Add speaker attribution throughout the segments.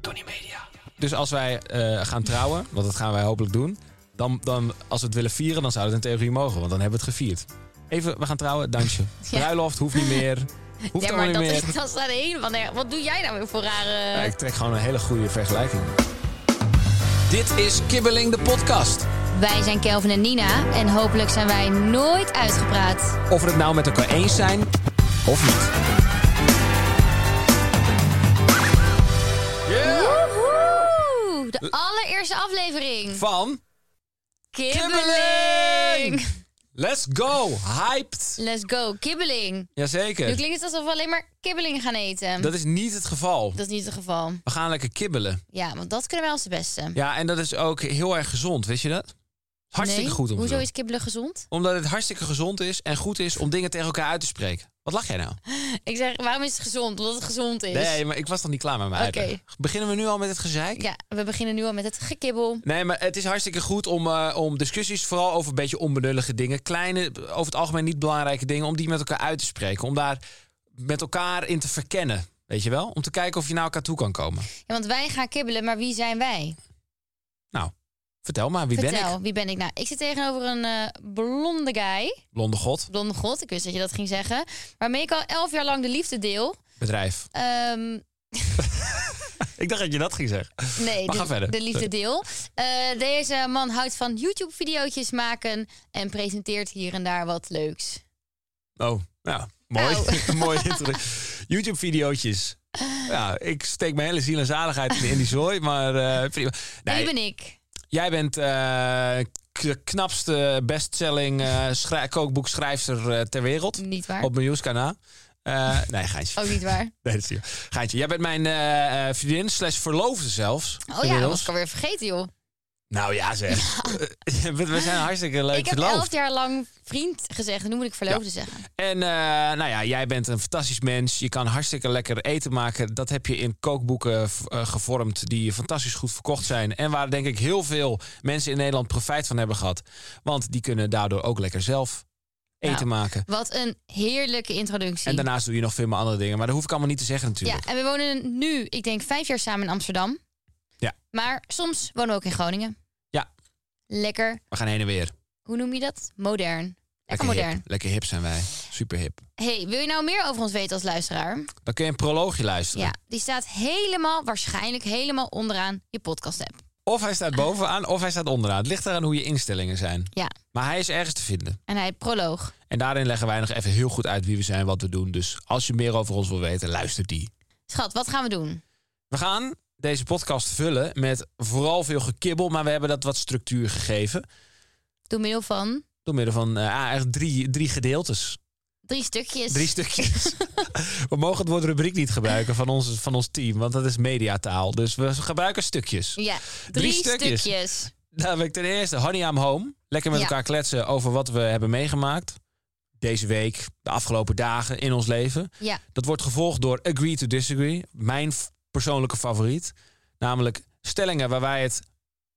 Speaker 1: Tony Media. Dus als wij eh, gaan trouwen, want dat gaan wij hopelijk doen... Dan, dan, als we het willen vieren, dan zou het in theorie mogen. Want dan hebben we het gevierd. Even, we gaan trouwen, dansje.
Speaker 2: Ja.
Speaker 1: Bruiloft hoeft niet meer. Hoeft
Speaker 2: ja,
Speaker 1: allemaal
Speaker 2: maar dat
Speaker 1: niet meer.
Speaker 2: is, dat is daar een van. de- Wat doe jij nou weer voor rare...
Speaker 1: Ja, ik trek gewoon een hele goede vergelijking. Dit is Kibbeling de podcast.
Speaker 2: Wij zijn Kelvin en Nina en hopelijk zijn wij nooit uitgepraat.
Speaker 1: Of we het nou met elkaar eens zijn of niet.
Speaker 2: Woehoe!
Speaker 1: Eh.
Speaker 2: De allereerste aflevering.
Speaker 1: Van
Speaker 2: Kibbeling!
Speaker 1: Let's Go Hyped.
Speaker 2: Let's go, kibbeling. Nu
Speaker 1: Jazeker.
Speaker 2: klinkt het alsof we alleen maar kibbeling gaan eten.
Speaker 1: Dat is niet het geval.
Speaker 2: Dat is niet het geval.
Speaker 1: We gaan lekker kibbelen.
Speaker 2: Ja, want dat kunnen wij als de beste.
Speaker 1: Ja, en dat is ook heel erg gezond, wist je dat? Hartstikke
Speaker 2: Nee?
Speaker 1: goed om te
Speaker 2: Hoezo
Speaker 1: doen.
Speaker 2: is kibbelen gezond?
Speaker 1: Omdat het hartstikke gezond is en goed is om dingen tegen elkaar uit te spreken. Wat lach jij nou?
Speaker 2: Ik zeg, waarom is het gezond? Omdat het gezond is.
Speaker 1: Nee, maar ik was nog niet klaar met mijn
Speaker 2: Oké.
Speaker 1: uitleg. Beginnen we nu al met het gezeik?
Speaker 2: Ja, we beginnen nu al met het gekibbel.
Speaker 1: Nee, maar het is hartstikke goed om, eh, om discussies, vooral over een beetje onbenullige dingen, kleine, over het algemeen niet belangrijke dingen, om die met elkaar uit te spreken. Om daar met elkaar in te verkennen. Weet je wel? Om te kijken of je naar elkaar toe kan komen.
Speaker 2: Ja, want wij gaan kibbelen, maar wie zijn wij?
Speaker 1: Nou, vertel maar, wie ben
Speaker 2: Vertel,
Speaker 1: ik?
Speaker 2: wie ben ik nou? Ik zit tegenover een eh, blonde guy,
Speaker 1: Blonde God,
Speaker 2: blonde god, ik wist dat je dat ging zeggen, waarmee ik al elf jaar lang de liefde deel.
Speaker 1: bedrijf.
Speaker 2: Ehm,
Speaker 1: Ik dacht dat je dat ging zeggen.
Speaker 2: nee,
Speaker 1: Maar
Speaker 2: de,
Speaker 1: ga verder.
Speaker 2: de liefde deel. Eh, deze man houdt van YouTube-videootjes maken en presenteert hier en daar wat leuks.
Speaker 1: Oh, nou, mooi.
Speaker 2: Nou.
Speaker 1: mooi introductie. YouTube-videootjes. Ja, ik steek mijn hele ziel en zaligheid in, in die zooi, maar eh, prima.
Speaker 2: Wie
Speaker 1: Nee,
Speaker 2: ben ik?
Speaker 1: Jij bent eh, k- de knapste bestselling eh, schrij- kookboekschrijfster eh, ter wereld.
Speaker 2: Niet waar.
Speaker 1: Op miljoenskanaal. Eh, nee, Geintje.
Speaker 2: Ook niet waar. Oh
Speaker 1: Nee, dat is niet waar. Geintje, jij bent mijn eh, eh, vriendin slash verloofde zelfs.
Speaker 2: Oh ja, dat was ik alweer vergeten, joh.
Speaker 1: Nou ja, zeg. We we zijn hartstikke leuk
Speaker 2: ik heb
Speaker 1: verloofd.
Speaker 2: elf jaar lang vriend gezegd. en Nu moet ik verloofde zeggen.
Speaker 1: En eh, nou ja, jij bent een fantastisch mens. Je kan hartstikke lekker eten maken. Dat heb je in kookboeken v- eh, gevormd die fantastisch goed verkocht zijn. En waar denk ik heel veel mensen in Nederland profijt van hebben gehad. Want die kunnen daardoor ook lekker zelf eten
Speaker 2: Nou,
Speaker 1: maken.
Speaker 2: Wat een heerlijke introductie.
Speaker 1: En daarnaast doe je nog veel meer andere dingen. Maar dat hoef ik allemaal niet te zeggen
Speaker 2: ja,
Speaker 1: natuurlijk.
Speaker 2: en we wonen nu, ik denk, vijf jaar samen in Amsterdam.
Speaker 1: Ja.
Speaker 2: Maar soms wonen we ook in Groningen.
Speaker 1: Ja.
Speaker 2: Lekker,
Speaker 1: We gaan heen en weer.
Speaker 2: hoe noem je dat? Modern. Lekker modern.
Speaker 1: hip. Lekker hip zijn wij. Super hip.
Speaker 2: Hey, wil je nou meer over ons weten als luisteraar?
Speaker 1: Dan kun je een proloogje luisteren.
Speaker 2: Ja, die staat helemaal, waarschijnlijk helemaal onderaan je podcast-app.
Speaker 1: Of hij staat bovenaan of hij staat onderaan. Het ligt eraan hoe je instellingen zijn.
Speaker 2: Ja,
Speaker 1: Maar hij is ergens te vinden.
Speaker 2: en hij proloog.
Speaker 1: En daarin leggen wij nog even heel goed uit wie we zijn, wat we doen. Dus als je meer over ons wil weten, luister die.
Speaker 2: Schat, wat gaan we doen?
Speaker 1: We gaan deze podcast vullen met vooral veel gekibbel, maar we hebben dat wat structuur gegeven.
Speaker 2: Door middel van
Speaker 1: Door middel van eh, ah, eigenlijk drie, drie gedeeltes.
Speaker 2: drie stukjes.
Speaker 1: Drie stukjes. we mogen het woord rubriek niet gebruiken van ons, van ons team, want dat is mediataal. Dus we gebruiken stukjes.
Speaker 2: Ja, drie,
Speaker 1: stukjes.
Speaker 2: stukjes.
Speaker 1: Daar heb ik ten eerste Honey I'm Home. Lekker met
Speaker 2: Ja.
Speaker 1: elkaar kletsen over wat we hebben meegemaakt. Deze week, de afgelopen dagen in ons leven.
Speaker 2: Ja,
Speaker 1: Dat wordt gevolgd door Agree to Disagree. Mijn f- persoonlijke favoriet. Namelijk stellingen waar wij het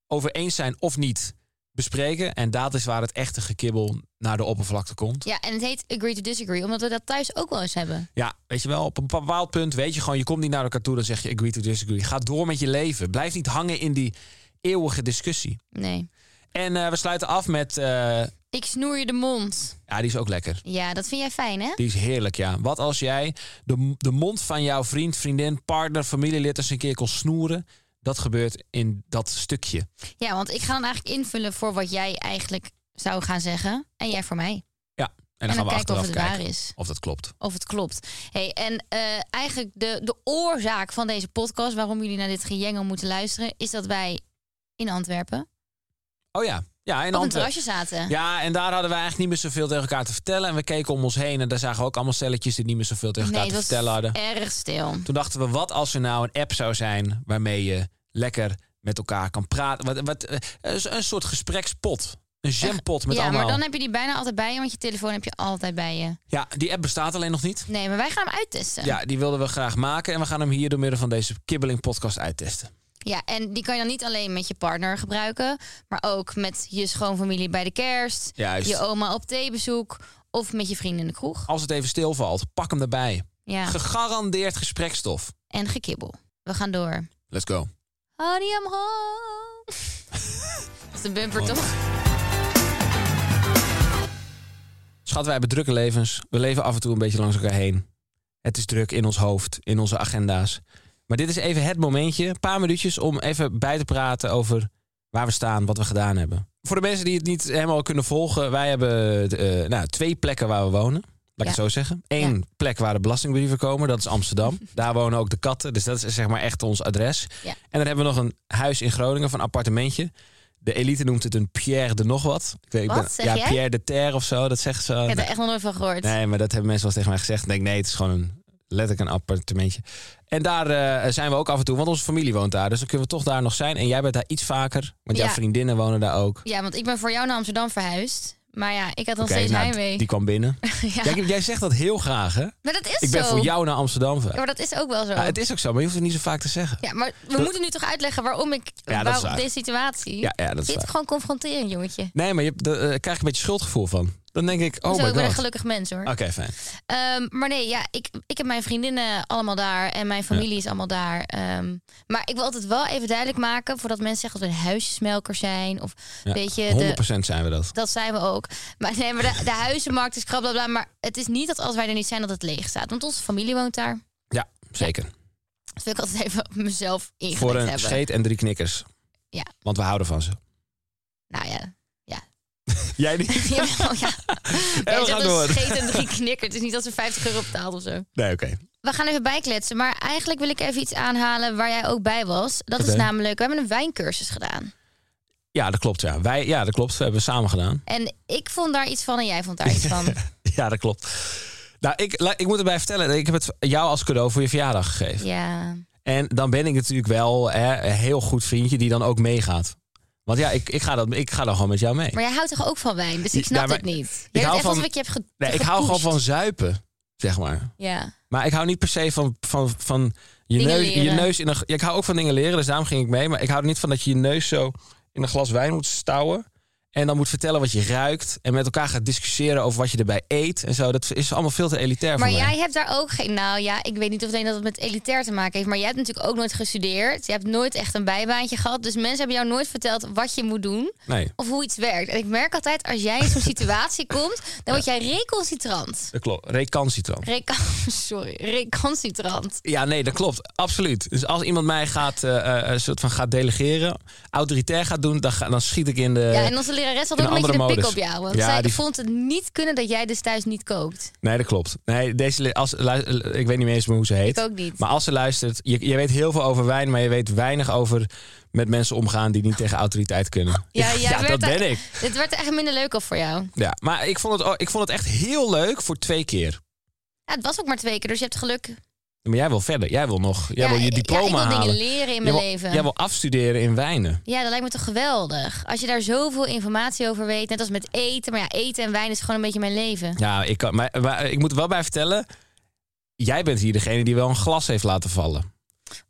Speaker 1: over eens zijn of niet bespreken. En dat is waar het echte gekibbel naar de oppervlakte komt.
Speaker 2: Ja, en het heet Agree to Disagree, omdat we dat thuis ook wel eens hebben.
Speaker 1: Ja, weet je wel, op een bepaald punt weet je gewoon... je komt niet naar elkaar toe, dan zeg je Agree to Disagree. Ga door met je leven. Blijf niet hangen in die eeuwige discussie.
Speaker 2: Nee.
Speaker 1: En eh, we sluiten af met... eh,
Speaker 2: Ik snoer je de mond.
Speaker 1: ja, die is ook lekker.
Speaker 2: Ja, dat vind jij fijn, hè?
Speaker 1: Die is heerlijk, ja. Wat als jij de, de mond van jouw vriend, vriendin, partner, familielid eens een keer kon snoeren? Dat gebeurt in dat stukje.
Speaker 2: Ja, want ik ga dan eigenlijk invullen voor wat jij eigenlijk zou gaan zeggen. En jij voor mij.
Speaker 1: Ja, en dan,
Speaker 2: en
Speaker 1: gaan
Speaker 2: dan
Speaker 1: we
Speaker 2: kijken
Speaker 1: achteraf
Speaker 2: of het
Speaker 1: kijken
Speaker 2: waar is.
Speaker 1: of dat klopt.
Speaker 2: Of het klopt. Hey, en eh, eigenlijk de, de oorzaak van deze podcast, waarom jullie naar dit gejengel moeten luisteren, is dat wij in Antwerpen
Speaker 1: Oh ja, Ja, in
Speaker 2: op een
Speaker 1: Antwerpen.
Speaker 2: terrasje zaten.
Speaker 1: Ja, en daar hadden we eigenlijk niet meer zoveel tegen elkaar te vertellen. En we keken om ons heen en daar zagen we ook allemaal stelletjes die niet meer zoveel tegen elkaar
Speaker 2: nee,
Speaker 1: te
Speaker 2: het
Speaker 1: vertellen
Speaker 2: was
Speaker 1: hadden.
Speaker 2: erg stil.
Speaker 1: Toen dachten we, wat als er nou een app zou zijn waarmee je lekker met elkaar kan praten. Wat, wat, eh, een een soort gesprekspot. Een jampot met
Speaker 2: ja,
Speaker 1: allemaal.
Speaker 2: maar dan heb je die bijna altijd bij je, want je telefoon heb je altijd bij je.
Speaker 1: Ja, die app bestaat alleen nog niet.
Speaker 2: Nee, maar wij gaan hem uittesten.
Speaker 1: Ja, die wilden we graag maken. En we gaan hem hier door middel van deze kibbeling podcast uittesten.
Speaker 2: Ja, en die kan je dan niet alleen met je partner gebruiken, maar ook met je schoonfamilie bij de kerst,
Speaker 1: Juist.
Speaker 2: je oma op theebezoek of met je vrienden in de kroeg.
Speaker 1: Als het even stilvalt, pak hem erbij.
Speaker 2: Ja,
Speaker 1: Gegarandeerd gesprekstof.
Speaker 2: en gekibbel. We gaan door.
Speaker 1: Let's go.
Speaker 2: Honey, I'm home. Dat is de bumper toch?
Speaker 1: Schat, wij hebben drukke levens. We leven af en toe een beetje langs elkaar heen. Het is druk in ons hoofd, in onze agenda's. Maar dit is even het momentje, een paar minuutjes, om even bij te praten over waar we staan, wat we gedaan hebben. Voor de mensen die het niet helemaal kunnen volgen, wij hebben eh, nou, twee plekken waar we wonen. Laat ik
Speaker 2: Ja.
Speaker 1: het zo zeggen. Eén plek waar de belastingbrieven komen, dat is Amsterdam. Daar wonen ook de katten, dus dat is zeg maar echt ons adres.
Speaker 2: Ja.
Speaker 1: En dan hebben we nog een huis in Groningen, van een appartementje. De elite noemt het een Pierre de nog wat. Ik weet, ik
Speaker 2: Wat zeg
Speaker 1: ja,
Speaker 2: jij?
Speaker 1: Pierre de Terre of zo, dat zeggen ze.
Speaker 2: Ik heb er echt nog nooit van gehoord.
Speaker 1: Nee, maar dat hebben mensen wel eens tegen mij gezegd. Ik denk, nee, het is gewoon een, letterlijk een appartementje. En daar eh, zijn we ook af en toe, want onze familie woont daar. Dus dan kunnen we toch daar nog zijn. En jij bent daar iets vaker, want jouw
Speaker 2: Ja.
Speaker 1: vriendinnen wonen daar ook.
Speaker 2: Ja, want ik ben voor jou naar Amsterdam verhuisd. Maar ja, ik had nog
Speaker 1: Oké,
Speaker 2: steeds
Speaker 1: nou,
Speaker 2: heimwee.
Speaker 1: die kwam binnen.
Speaker 2: Ja.
Speaker 1: Jij, jij zegt dat heel graag, hè?
Speaker 2: Maar dat is
Speaker 1: Ik ben
Speaker 2: zo.
Speaker 1: voor jou naar Amsterdam.
Speaker 2: Ja, maar dat is ook wel zo.
Speaker 1: Ja, het is ook zo, maar je hoeft het niet zo vaak te zeggen.
Speaker 2: Ja, maar we moeten nu toch uitleggen waarom ik
Speaker 1: Ja, dat is
Speaker 2: waarom
Speaker 1: waar.
Speaker 2: deze situatie.
Speaker 1: Ja, ja, dat is
Speaker 2: Dit
Speaker 1: waar.
Speaker 2: gewoon confronteren, jongetje.
Speaker 1: Nee, maar je hebt- daar eh, krijg ik een beetje schuldgevoel van. Dan denk ik, oh
Speaker 2: Zo,
Speaker 1: my
Speaker 2: ik ben een
Speaker 1: god.
Speaker 2: gelukkig mens hoor.
Speaker 1: Oké, fijn.
Speaker 2: Ehm, maar nee, ja, ik, ik heb mijn vriendinnen allemaal daar en mijn familie is allemaal daar. Ehm, maar ik wil altijd wel even duidelijk maken, voordat mensen zeggen dat we een huisjesmelker zijn. Of
Speaker 1: Ja,
Speaker 2: weet je, de,
Speaker 1: 100% zijn we dat.
Speaker 2: dat zijn we ook. Maar nee, maar de, de huizenmarkt is krap, bla, bla, Maar het is niet dat als wij er niet zijn dat het leeg staat. Want onze familie woont daar.
Speaker 1: Ja, zeker.
Speaker 2: Dat wil ik altijd even op mezelf
Speaker 1: Voor
Speaker 2: ingelicht
Speaker 1: een
Speaker 2: hebben.
Speaker 1: scheet en drie knikkers.
Speaker 2: Ja.
Speaker 1: Want we houden van ze.
Speaker 2: Nou ja. Ja.
Speaker 1: Jij niet?
Speaker 2: Jawel, ja.
Speaker 1: En we
Speaker 2: Ja,
Speaker 1: gaan
Speaker 2: dat
Speaker 1: door.
Speaker 2: is scheet en drie knikker. Het is niet dat ze 50 euro betaalt of zo.
Speaker 1: Nee, oké.
Speaker 2: We gaan even bijkletsen, maar eigenlijk wil ik even iets aanhalen waar jij ook bij was. Dat
Speaker 1: Oké.
Speaker 2: is namelijk, we hebben een wijncursus gedaan.
Speaker 1: Ja, dat klopt. Ja. Wij, ja, dat klopt. We hebben samen gedaan.
Speaker 2: En ik vond daar iets van en jij vond daar iets van.
Speaker 1: Ja, dat klopt. Nou, ik, la- ik moet erbij vertellen. Ik heb het jou als cadeau voor je verjaardag gegeven.
Speaker 2: ja.
Speaker 1: En dan ben ik natuurlijk wel hè, een heel goed vriendje die dan ook meegaat. Want ja, ik, ik, ga, dat, ik ga dan gewoon met jou mee.
Speaker 2: Maar jij houdt toch ook van wijn, dus ik snap
Speaker 1: Ja, maar
Speaker 2: het niet.
Speaker 1: ik
Speaker 2: Jij
Speaker 1: hou
Speaker 2: houdt
Speaker 1: van-
Speaker 2: van... ik je hebt ge-
Speaker 1: Nee, ik hou gewoon
Speaker 2: gepusht.
Speaker 1: van zuipen, zeg maar.
Speaker 2: Ja.
Speaker 1: Maar ik hou niet per se van, van, van je,
Speaker 2: Dingen
Speaker 1: neus, je
Speaker 2: leren.
Speaker 1: neus in een... ja, ik hou ook van dingen leren, dus daarom ging ik mee. Maar ik hou er niet van dat je je neus zo in een glas wijn moet stouwen. En dan moet vertellen wat je ruikt. En met elkaar gaat discussiëren over wat je erbij eet en zo. Dat is allemaal veel te elitair
Speaker 2: Maar
Speaker 1: voor mij.
Speaker 2: jij hebt daar ook geen... Nou ja, ik weet niet of het een dat het met elitair te maken heeft. Maar jij hebt natuurlijk ook nooit gestudeerd. Je hebt nooit echt een bijbaantje gehad. Dus mensen hebben jou nooit verteld wat je moet doen.
Speaker 1: Nee,
Speaker 2: Of hoe iets werkt. En ik merk altijd, als jij in zo'n situatie komt... dan word jij reconcitrant.
Speaker 1: dat klopt. Recalcitrant.
Speaker 2: Reca sorry, reconcitrant.
Speaker 1: Ja, nee, dat klopt. Absoluut. Dus als iemand mij gaat, eh, eh, een soort van gaat delegeren, autoritair gaat doen, dan, ga- dan schiet ik Eh, in de...
Speaker 2: ja, en onze lerares had
Speaker 1: een
Speaker 2: ook een beetje de
Speaker 1: andere
Speaker 2: pik op
Speaker 1: modus.
Speaker 2: jou. Want
Speaker 1: Ja,
Speaker 2: zij
Speaker 1: die-
Speaker 2: vond het niet kunnen dat jij dus thuis niet kookt.
Speaker 1: Nee, dat klopt. Nee, deze, li- als, lu- ik weet niet eens meer hoe ze heet.
Speaker 2: Ik ook niet.
Speaker 1: Maar als ze luistert, je, je weet heel veel over wijn, maar je weet weinig over met mensen omgaan die niet tegen autoriteit kunnen.
Speaker 2: Ja, jij werd
Speaker 1: dat
Speaker 2: daar-
Speaker 1: ben ik.
Speaker 2: Het werd echt minder leuk al voor jou.
Speaker 1: Ja, maar ik vond, het, ook- ik vond het echt heel leuk voor twee keer.
Speaker 2: Ja, het was ook maar twee keer, dus je hebt geluk.
Speaker 1: Maar jij wil verder. Jij wil nog. Jij
Speaker 2: ja,
Speaker 1: wil je
Speaker 2: ik-
Speaker 1: diploma
Speaker 2: Ja, ik wil
Speaker 1: halen.
Speaker 2: dingen leren in
Speaker 1: jij,
Speaker 2: mijn
Speaker 1: wil,
Speaker 2: leven.
Speaker 1: jij wil afstuderen in wijnen.
Speaker 2: Ja, dat lijkt me toch geweldig. Als je daar zoveel informatie over weet, net als met eten. Maar ja, eten en wijn is gewoon een beetje mijn leven.
Speaker 1: Ja, ik, kan, maar, maar ik moet er wel bij vertellen. Jij bent hier degene die wel een glas heeft laten vallen.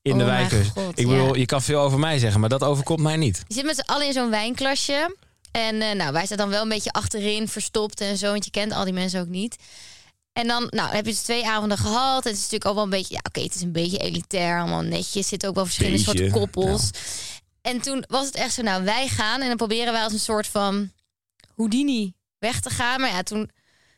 Speaker 1: In
Speaker 2: Oh
Speaker 1: de
Speaker 2: mijn
Speaker 1: wijncursus.
Speaker 2: God,
Speaker 1: ik bedoel,
Speaker 2: ja.
Speaker 1: je kan veel over mij zeggen, maar dat overkomt mij niet.
Speaker 2: Je zit met z'n allen in zo'n wijnklasje. En eh, nou, wij staan dan wel een beetje achterin, verstopt en zo. Want je kent al die mensen ook niet. En dan, nou, dan heb je dus twee avonden gehad. Het is natuurlijk al wel een beetje, ja, oké, het is een beetje elitair, allemaal netjes. Er zitten ook wel verschillende
Speaker 1: Beetje,
Speaker 2: soorten koppels. En toen was het echt zo, nou, wij gaan. En dan proberen wij als een soort van Houdini weg te gaan. Maar ja, toen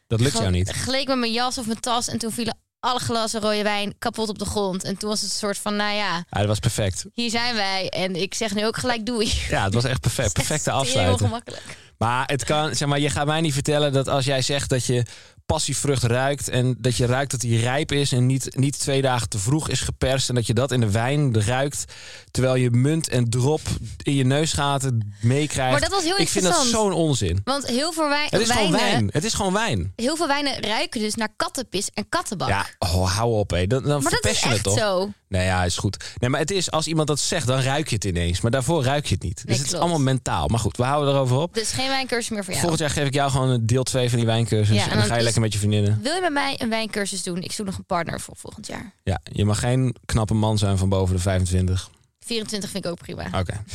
Speaker 1: Dat lukt jou niet.
Speaker 2: gleek met mijn jas of mijn tas. En toen vielen alle glazen rode wijn kapot op de grond. En toen was het een soort van, nou ja,
Speaker 1: Ja, dat was perfect.
Speaker 2: hier zijn wij. En ik zeg nu ook gelijk doei.
Speaker 1: Ja, het was echt perfect. Perfecte
Speaker 2: Echt Heel
Speaker 1: afsluiting.
Speaker 2: gemakkelijk.
Speaker 1: Maar, het kan, zeg maar je gaat mij niet vertellen dat als jij zegt dat je passievrucht ruikt. En dat je ruikt dat die rijp is en niet, niet twee dagen te vroeg is geperst. En dat je dat in de wijn ruikt. Terwijl je munt en drop in je neusgaten meekrijgt.
Speaker 2: Maar dat was heel
Speaker 1: Ik vind dat
Speaker 2: interessant.
Speaker 1: zo'n onzin.
Speaker 2: Want heel veel wij-
Speaker 1: Het is gewoon
Speaker 2: wijnen,
Speaker 1: wijn. Het is gewoon wijn.
Speaker 2: heel veel wijnen ruiken dus naar kattenpis en kattenbak.
Speaker 1: Ja, oh, hou op hé. Dan, dan
Speaker 2: maar dat
Speaker 1: verpest
Speaker 2: is
Speaker 1: je het
Speaker 2: echt
Speaker 1: toch?
Speaker 2: zo.
Speaker 1: Nee, ja, is goed. Nee, maar het is, als iemand dat zegt, dan ruik je het ineens. Maar daarvoor ruik je het niet. Dus het is
Speaker 2: klopt.
Speaker 1: allemaal mentaal. Maar goed, we houden erover op.
Speaker 2: Dus geen wijncursus meer voor jou.
Speaker 1: Volgend jaar geef ik jou gewoon een deel 2 van die wijncursus.
Speaker 2: Ja,
Speaker 1: en
Speaker 2: en
Speaker 1: dan
Speaker 2: dan
Speaker 1: ga je
Speaker 2: is-
Speaker 1: lekker met je vriendinnen.
Speaker 2: Wil je met mij een wijncursus doen? Ik zoek nog een partner voor volgend jaar.
Speaker 1: Ja, je mag geen knappe man zijn van boven de 25.
Speaker 2: 24 vind ik ook prima.
Speaker 1: Oké.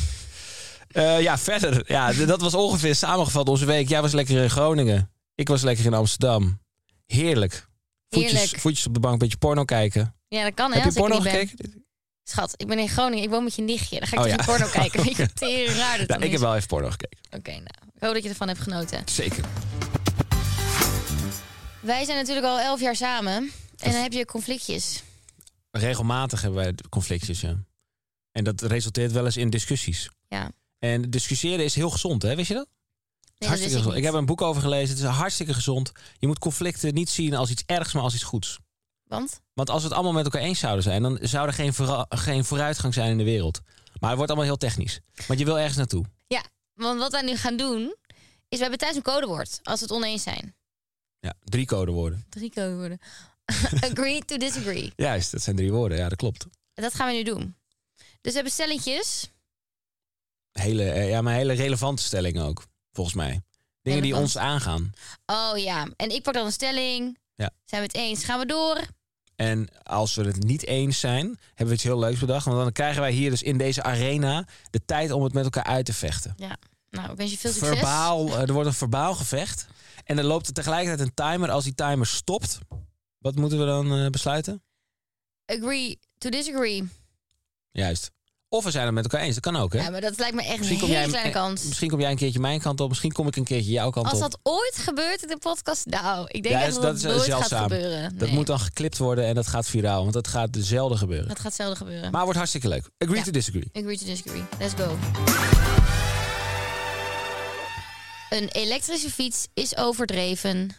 Speaker 1: Eh, ja, verder. Ja, d- dat was ongeveer samengevat onze week. Jij was lekker in Groningen. Ik was lekker in Amsterdam. Heerlijk. Voetjes,
Speaker 2: Heerlijk. Nou
Speaker 1: voetjes op de bank, een beetje porno kijken.
Speaker 2: Ja, dat kan hè.
Speaker 1: Heb je
Speaker 2: als ik er
Speaker 1: porno
Speaker 2: niet ben.
Speaker 1: gekeken?
Speaker 2: Schat, ik ben in Groningen. Ik woon met je nichtje. Dan ga ik
Speaker 1: Oh,
Speaker 2: toch
Speaker 1: ja.
Speaker 2: geen porno kijken. Vind je het tering raar dat
Speaker 1: Ja,
Speaker 2: dan
Speaker 1: ik heb
Speaker 2: is?
Speaker 1: wel even porno gekeken.
Speaker 2: Oké, nou. Ik hoop dat je ervan hebt genoten.
Speaker 1: Zeker.
Speaker 2: Wij zijn natuurlijk al elf jaar samen. En dan heb je conflictjes.
Speaker 1: Regelmatig hebben wij conflictjes, ja. En dat resulteert wel eens in discussies.
Speaker 2: Ja.
Speaker 1: En discussiëren is heel gezond, hè? Wist je dat?
Speaker 2: Nee, dat wist
Speaker 1: hartstikke
Speaker 2: ik
Speaker 1: gezond. Ik
Speaker 2: niet.
Speaker 1: heb er een boek over gelezen. Het is hartstikke gezond. Je moet conflicten niet zien als iets ergs, maar als iets goeds.
Speaker 2: Want?
Speaker 1: Want als we het allemaal met elkaar eens zouden zijn, dan zou er geen, vera- geen vooruitgang zijn in de wereld. Maar het wordt allemaal heel technisch. Want je wil ergens naartoe.
Speaker 2: Ja, want wat wij nu gaan doen... is we hebben thuis een codewoord. Als we het oneens zijn.
Speaker 1: Ja, drie codewoorden.
Speaker 2: Drie codewoorden. Agree to disagree.
Speaker 1: Juist, dat zijn drie woorden. Ja, dat klopt.
Speaker 2: En dat gaan we nu doen. Dus we hebben stelletjes.
Speaker 1: Hele, eh, ja, maar hele relevante stellingen ook, volgens mij. Dingen die
Speaker 2: Relevant.
Speaker 1: ons aangaan.
Speaker 2: Oh ja. En ik pak dan een stelling.
Speaker 1: Ja.
Speaker 2: Zijn we het eens? Gaan we door?
Speaker 1: En als we het niet eens zijn, hebben we iets heel leuks bedacht. Want dan krijgen wij hier dus in deze arena de tijd om het met elkaar uit te vechten.
Speaker 2: Ja. Nou, ik wens je veel succes.
Speaker 1: verbaal, eh, er wordt een verbaal gevecht. En er loopt er tegelijkertijd een timer. Als die timer stopt, wat moeten we dan eh, besluiten?
Speaker 2: Agree to disagree.
Speaker 1: Juist. Of we zijn het met elkaar eens. Dat kan ook, hè?
Speaker 2: Ja, maar dat lijkt me echt
Speaker 1: Misschien
Speaker 2: een
Speaker 1: kom,
Speaker 2: hele
Speaker 1: jij,
Speaker 2: kleine
Speaker 1: eh,
Speaker 2: kans.
Speaker 1: misschien kom jij een keertje mijn kant op. Misschien kom ik een keertje jouw kant
Speaker 2: Als
Speaker 1: op.
Speaker 2: dat ooit gebeurt in de podcast, nou, ik denk
Speaker 1: Ja,
Speaker 2: echt
Speaker 1: is-
Speaker 2: dat dat,
Speaker 1: is
Speaker 2: nooit
Speaker 1: zeldzaam.
Speaker 2: gaat gebeuren.
Speaker 1: Dat
Speaker 2: Nee,
Speaker 1: moet dan geklipt worden en dat gaat viraal. Want dat gaat zelden gebeuren.
Speaker 2: dat gaat zelden gebeuren.
Speaker 1: Maar het wordt hartstikke leuk. Agree
Speaker 2: Ja.
Speaker 1: to disagree.
Speaker 2: Agree to disagree. Let's go. Een elektrische fiets is overdreven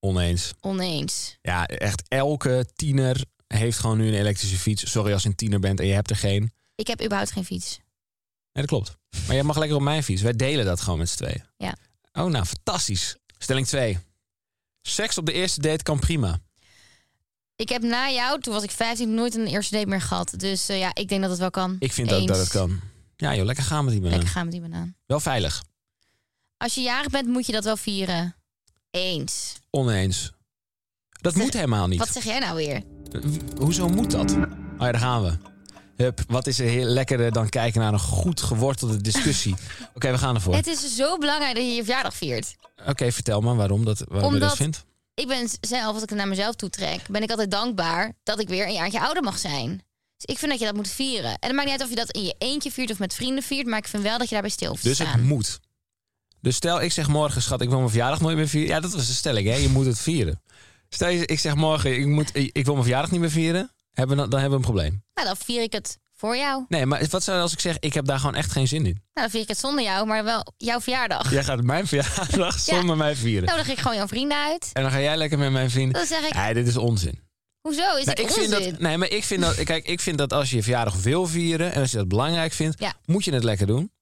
Speaker 1: Oneens.
Speaker 2: oneens.
Speaker 1: Ja, echt elke tiener heeft gewoon nu een elektrische fiets. Sorry als je een tiener bent en je hebt er geen.
Speaker 2: Ik heb überhaupt geen fiets.
Speaker 1: Nee, dat klopt. Maar jij mag lekker op mijn fiets. Wij delen dat gewoon met z'n tweeën.
Speaker 2: Ja.
Speaker 1: Oh, nou, fantastisch. Stelling 2. Seks op de eerste date kan prima.
Speaker 2: Ik heb na jou, toen was ik 15, nooit een eerste date meer gehad. Dus eh, ja, ik denk dat het wel kan.
Speaker 1: Ik vind ook
Speaker 2: Eens.
Speaker 1: dat het kan. eh. Ja joh, lekker gaan met die banaan.
Speaker 2: Lekker gaan met die banaan.
Speaker 1: Wel veilig.
Speaker 2: Als je jarig bent, moet je dat wel vieren. Eens.
Speaker 1: Oneens. Dat moet helemaal niet.
Speaker 2: Wat zeg jij nou weer?
Speaker 1: W- Hoezo moet dat? Oh ja, daar gaan we. Hup, wat is er heel lekkerder dan kijken naar een goed gewortelde discussie? Oké, we gaan ervoor.
Speaker 2: Het is zo belangrijk dat je je verjaardag viert.
Speaker 1: Oké, vertel maar waarom, dat, waarom je dat
Speaker 2: Omdat-
Speaker 1: vindt.
Speaker 2: ik ben zelf, als ik het naar mezelf toe trek, ben ik altijd dankbaar dat ik weer een jaartje ouder mag zijn. Dus ik vind dat je dat moet vieren. En het maakt niet uit of je dat in je eentje viert of met vrienden viert, maar ik vind wel dat je daarbij stil hoeft te
Speaker 1: Dus het
Speaker 2: staan.
Speaker 1: moet. Dus stel, ik zeg morgen, schat, ik wil mijn verjaardag nooit meer vieren. Ja, dat was de stelling, hè? Je moet het vieren. Stel, je- ik zeg morgen, ik, moet, ik ik wil mijn verjaardag niet meer vieren. Hebben, we dan dan hebben we een probleem.
Speaker 2: Nou, dan vier ik het voor jou. Nou,
Speaker 1: Nee, maar wat zou als ik zeg, ik heb daar gewoon echt geen zin in?
Speaker 2: dan vier ik het zonder jou, maar wel jouw verjaardag.
Speaker 1: Jij gaat mijn verjaardag zonder mij vieren.
Speaker 2: Nou, dan ga ik gewoon jouw vrienden uit.
Speaker 1: En dan ga jij lekker met mijn vrienden.
Speaker 2: Dan zeg ik,
Speaker 1: Nee, dit is onzin.
Speaker 2: hoezo? Is
Speaker 1: Nou,
Speaker 2: dit
Speaker 1: ik
Speaker 2: onzin?
Speaker 1: vind dat, nee, maar ik vind dat, kijk, ik vind dat als je je verjaardag wil vieren en als je dat belangrijk vindt,
Speaker 2: Ja.
Speaker 1: moet je het lekker doen.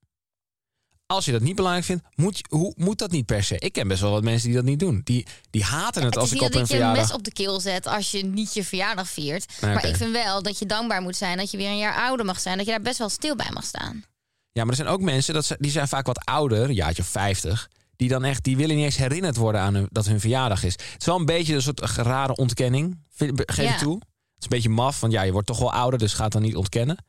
Speaker 1: Als je dat niet belangrijk vindt, moet, je- hoe, moet dat niet per se. Ik ken best wel wat mensen die dat niet doen. Die, die haten het,
Speaker 2: Het
Speaker 1: als
Speaker 2: is
Speaker 1: ik
Speaker 2: niet
Speaker 1: op
Speaker 2: dat
Speaker 1: hun
Speaker 2: ik je een mes
Speaker 1: verjaardag.
Speaker 2: op de keel zet als je niet je verjaardag viert.
Speaker 1: Nee,
Speaker 2: Maar
Speaker 1: oké.
Speaker 2: ik vind wel dat je dankbaar moet zijn dat je weer een jaar ouder mag zijn. Dat je daar best wel stil bij mag staan.
Speaker 1: Ja, maar er zijn ook mensen dat ze, die zijn vaak wat ouder, een jaartje of 50. Die dan echt, die willen niet eens herinnerd worden aan hun, dat hun verjaardag is. Het is wel een beetje een soort rare ontkenning. vind- be- Geef
Speaker 2: Ja.
Speaker 1: ik toe. Het is een beetje maf, want ja, je wordt toch wel ouder, dus ga het dan niet ontkennen.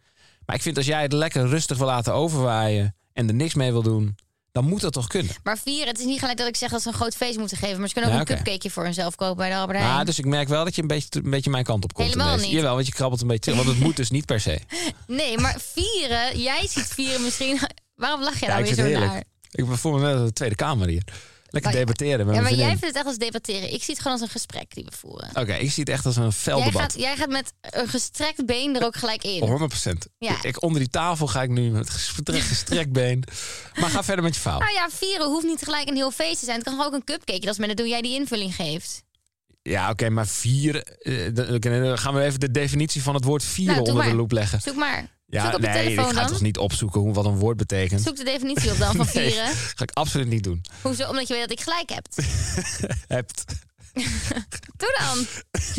Speaker 1: Maar ik vind als jij het lekker rustig wil laten overwaaien en er niks mee wil doen, dan moet dat toch kunnen.
Speaker 2: Maar vier, het is niet gelijk dat ik zeg dat ze een groot feest moeten geven. Maar ze kunnen ook
Speaker 1: Ja,
Speaker 2: een
Speaker 1: oké.
Speaker 2: cupcakeje voor hunzelf kopen bij de Albert Heijn.
Speaker 1: Maar, dus ik merk wel dat je een beetje, een beetje mijn kant op komt.
Speaker 2: Helemaal
Speaker 1: ineens.
Speaker 2: niet.
Speaker 1: Jawel, want je krabbelt een beetje terug. Want het moet dus niet per se.
Speaker 2: Nee, maar vieren, jij ziet vieren misschien... Waarom lach jij
Speaker 1: Ja,
Speaker 2: nou
Speaker 1: ik
Speaker 2: weer
Speaker 1: vind
Speaker 2: zo
Speaker 1: het
Speaker 2: naar?
Speaker 1: heerlijk. Ik voel me net als de Tweede Kamer hier. Lekker
Speaker 2: Maar-
Speaker 1: debatteren met
Speaker 2: Ja,
Speaker 1: mijn
Speaker 2: maar jij
Speaker 1: vriendin.
Speaker 2: vindt het echt als debatteren. Ik zie het gewoon als een gesprek die we voeren.
Speaker 1: Oké, ik zie het echt als een fel
Speaker 2: Jij
Speaker 1: debat.
Speaker 2: gaat, jij gaat met een gestrekt been er ook gelijk in.
Speaker 1: 100
Speaker 2: Ja.
Speaker 1: Ik, onder die tafel ga ik nu met gestrekt, gestrekt been. Maar ga verder met je verhaal.
Speaker 2: Nou ja, vieren hoeft niet gelijk een heel feest te zijn. Het kan gewoon ook een cupcake. Dat is met het hoe jij die invulling geeft.
Speaker 1: Ja, oké, maar vier. eh, dan- dan gaan we even de definitie van het woord vieren
Speaker 2: Nou, doe
Speaker 1: onder de
Speaker 2: maar.
Speaker 1: loep leggen.
Speaker 2: Zoek maar.
Speaker 1: Ja,
Speaker 2: Zoek op je
Speaker 1: nee,
Speaker 2: telefoon
Speaker 1: ik ga
Speaker 2: dan.
Speaker 1: toch niet opzoeken hoe, wat een woord betekent.
Speaker 2: Zoek de definitie op dan van
Speaker 1: Nee,
Speaker 2: vieren.
Speaker 1: ga ik absoluut niet doen.
Speaker 2: Hoezo? Omdat je weet dat ik gelijk heb.
Speaker 1: Hebt.
Speaker 2: Doe dan.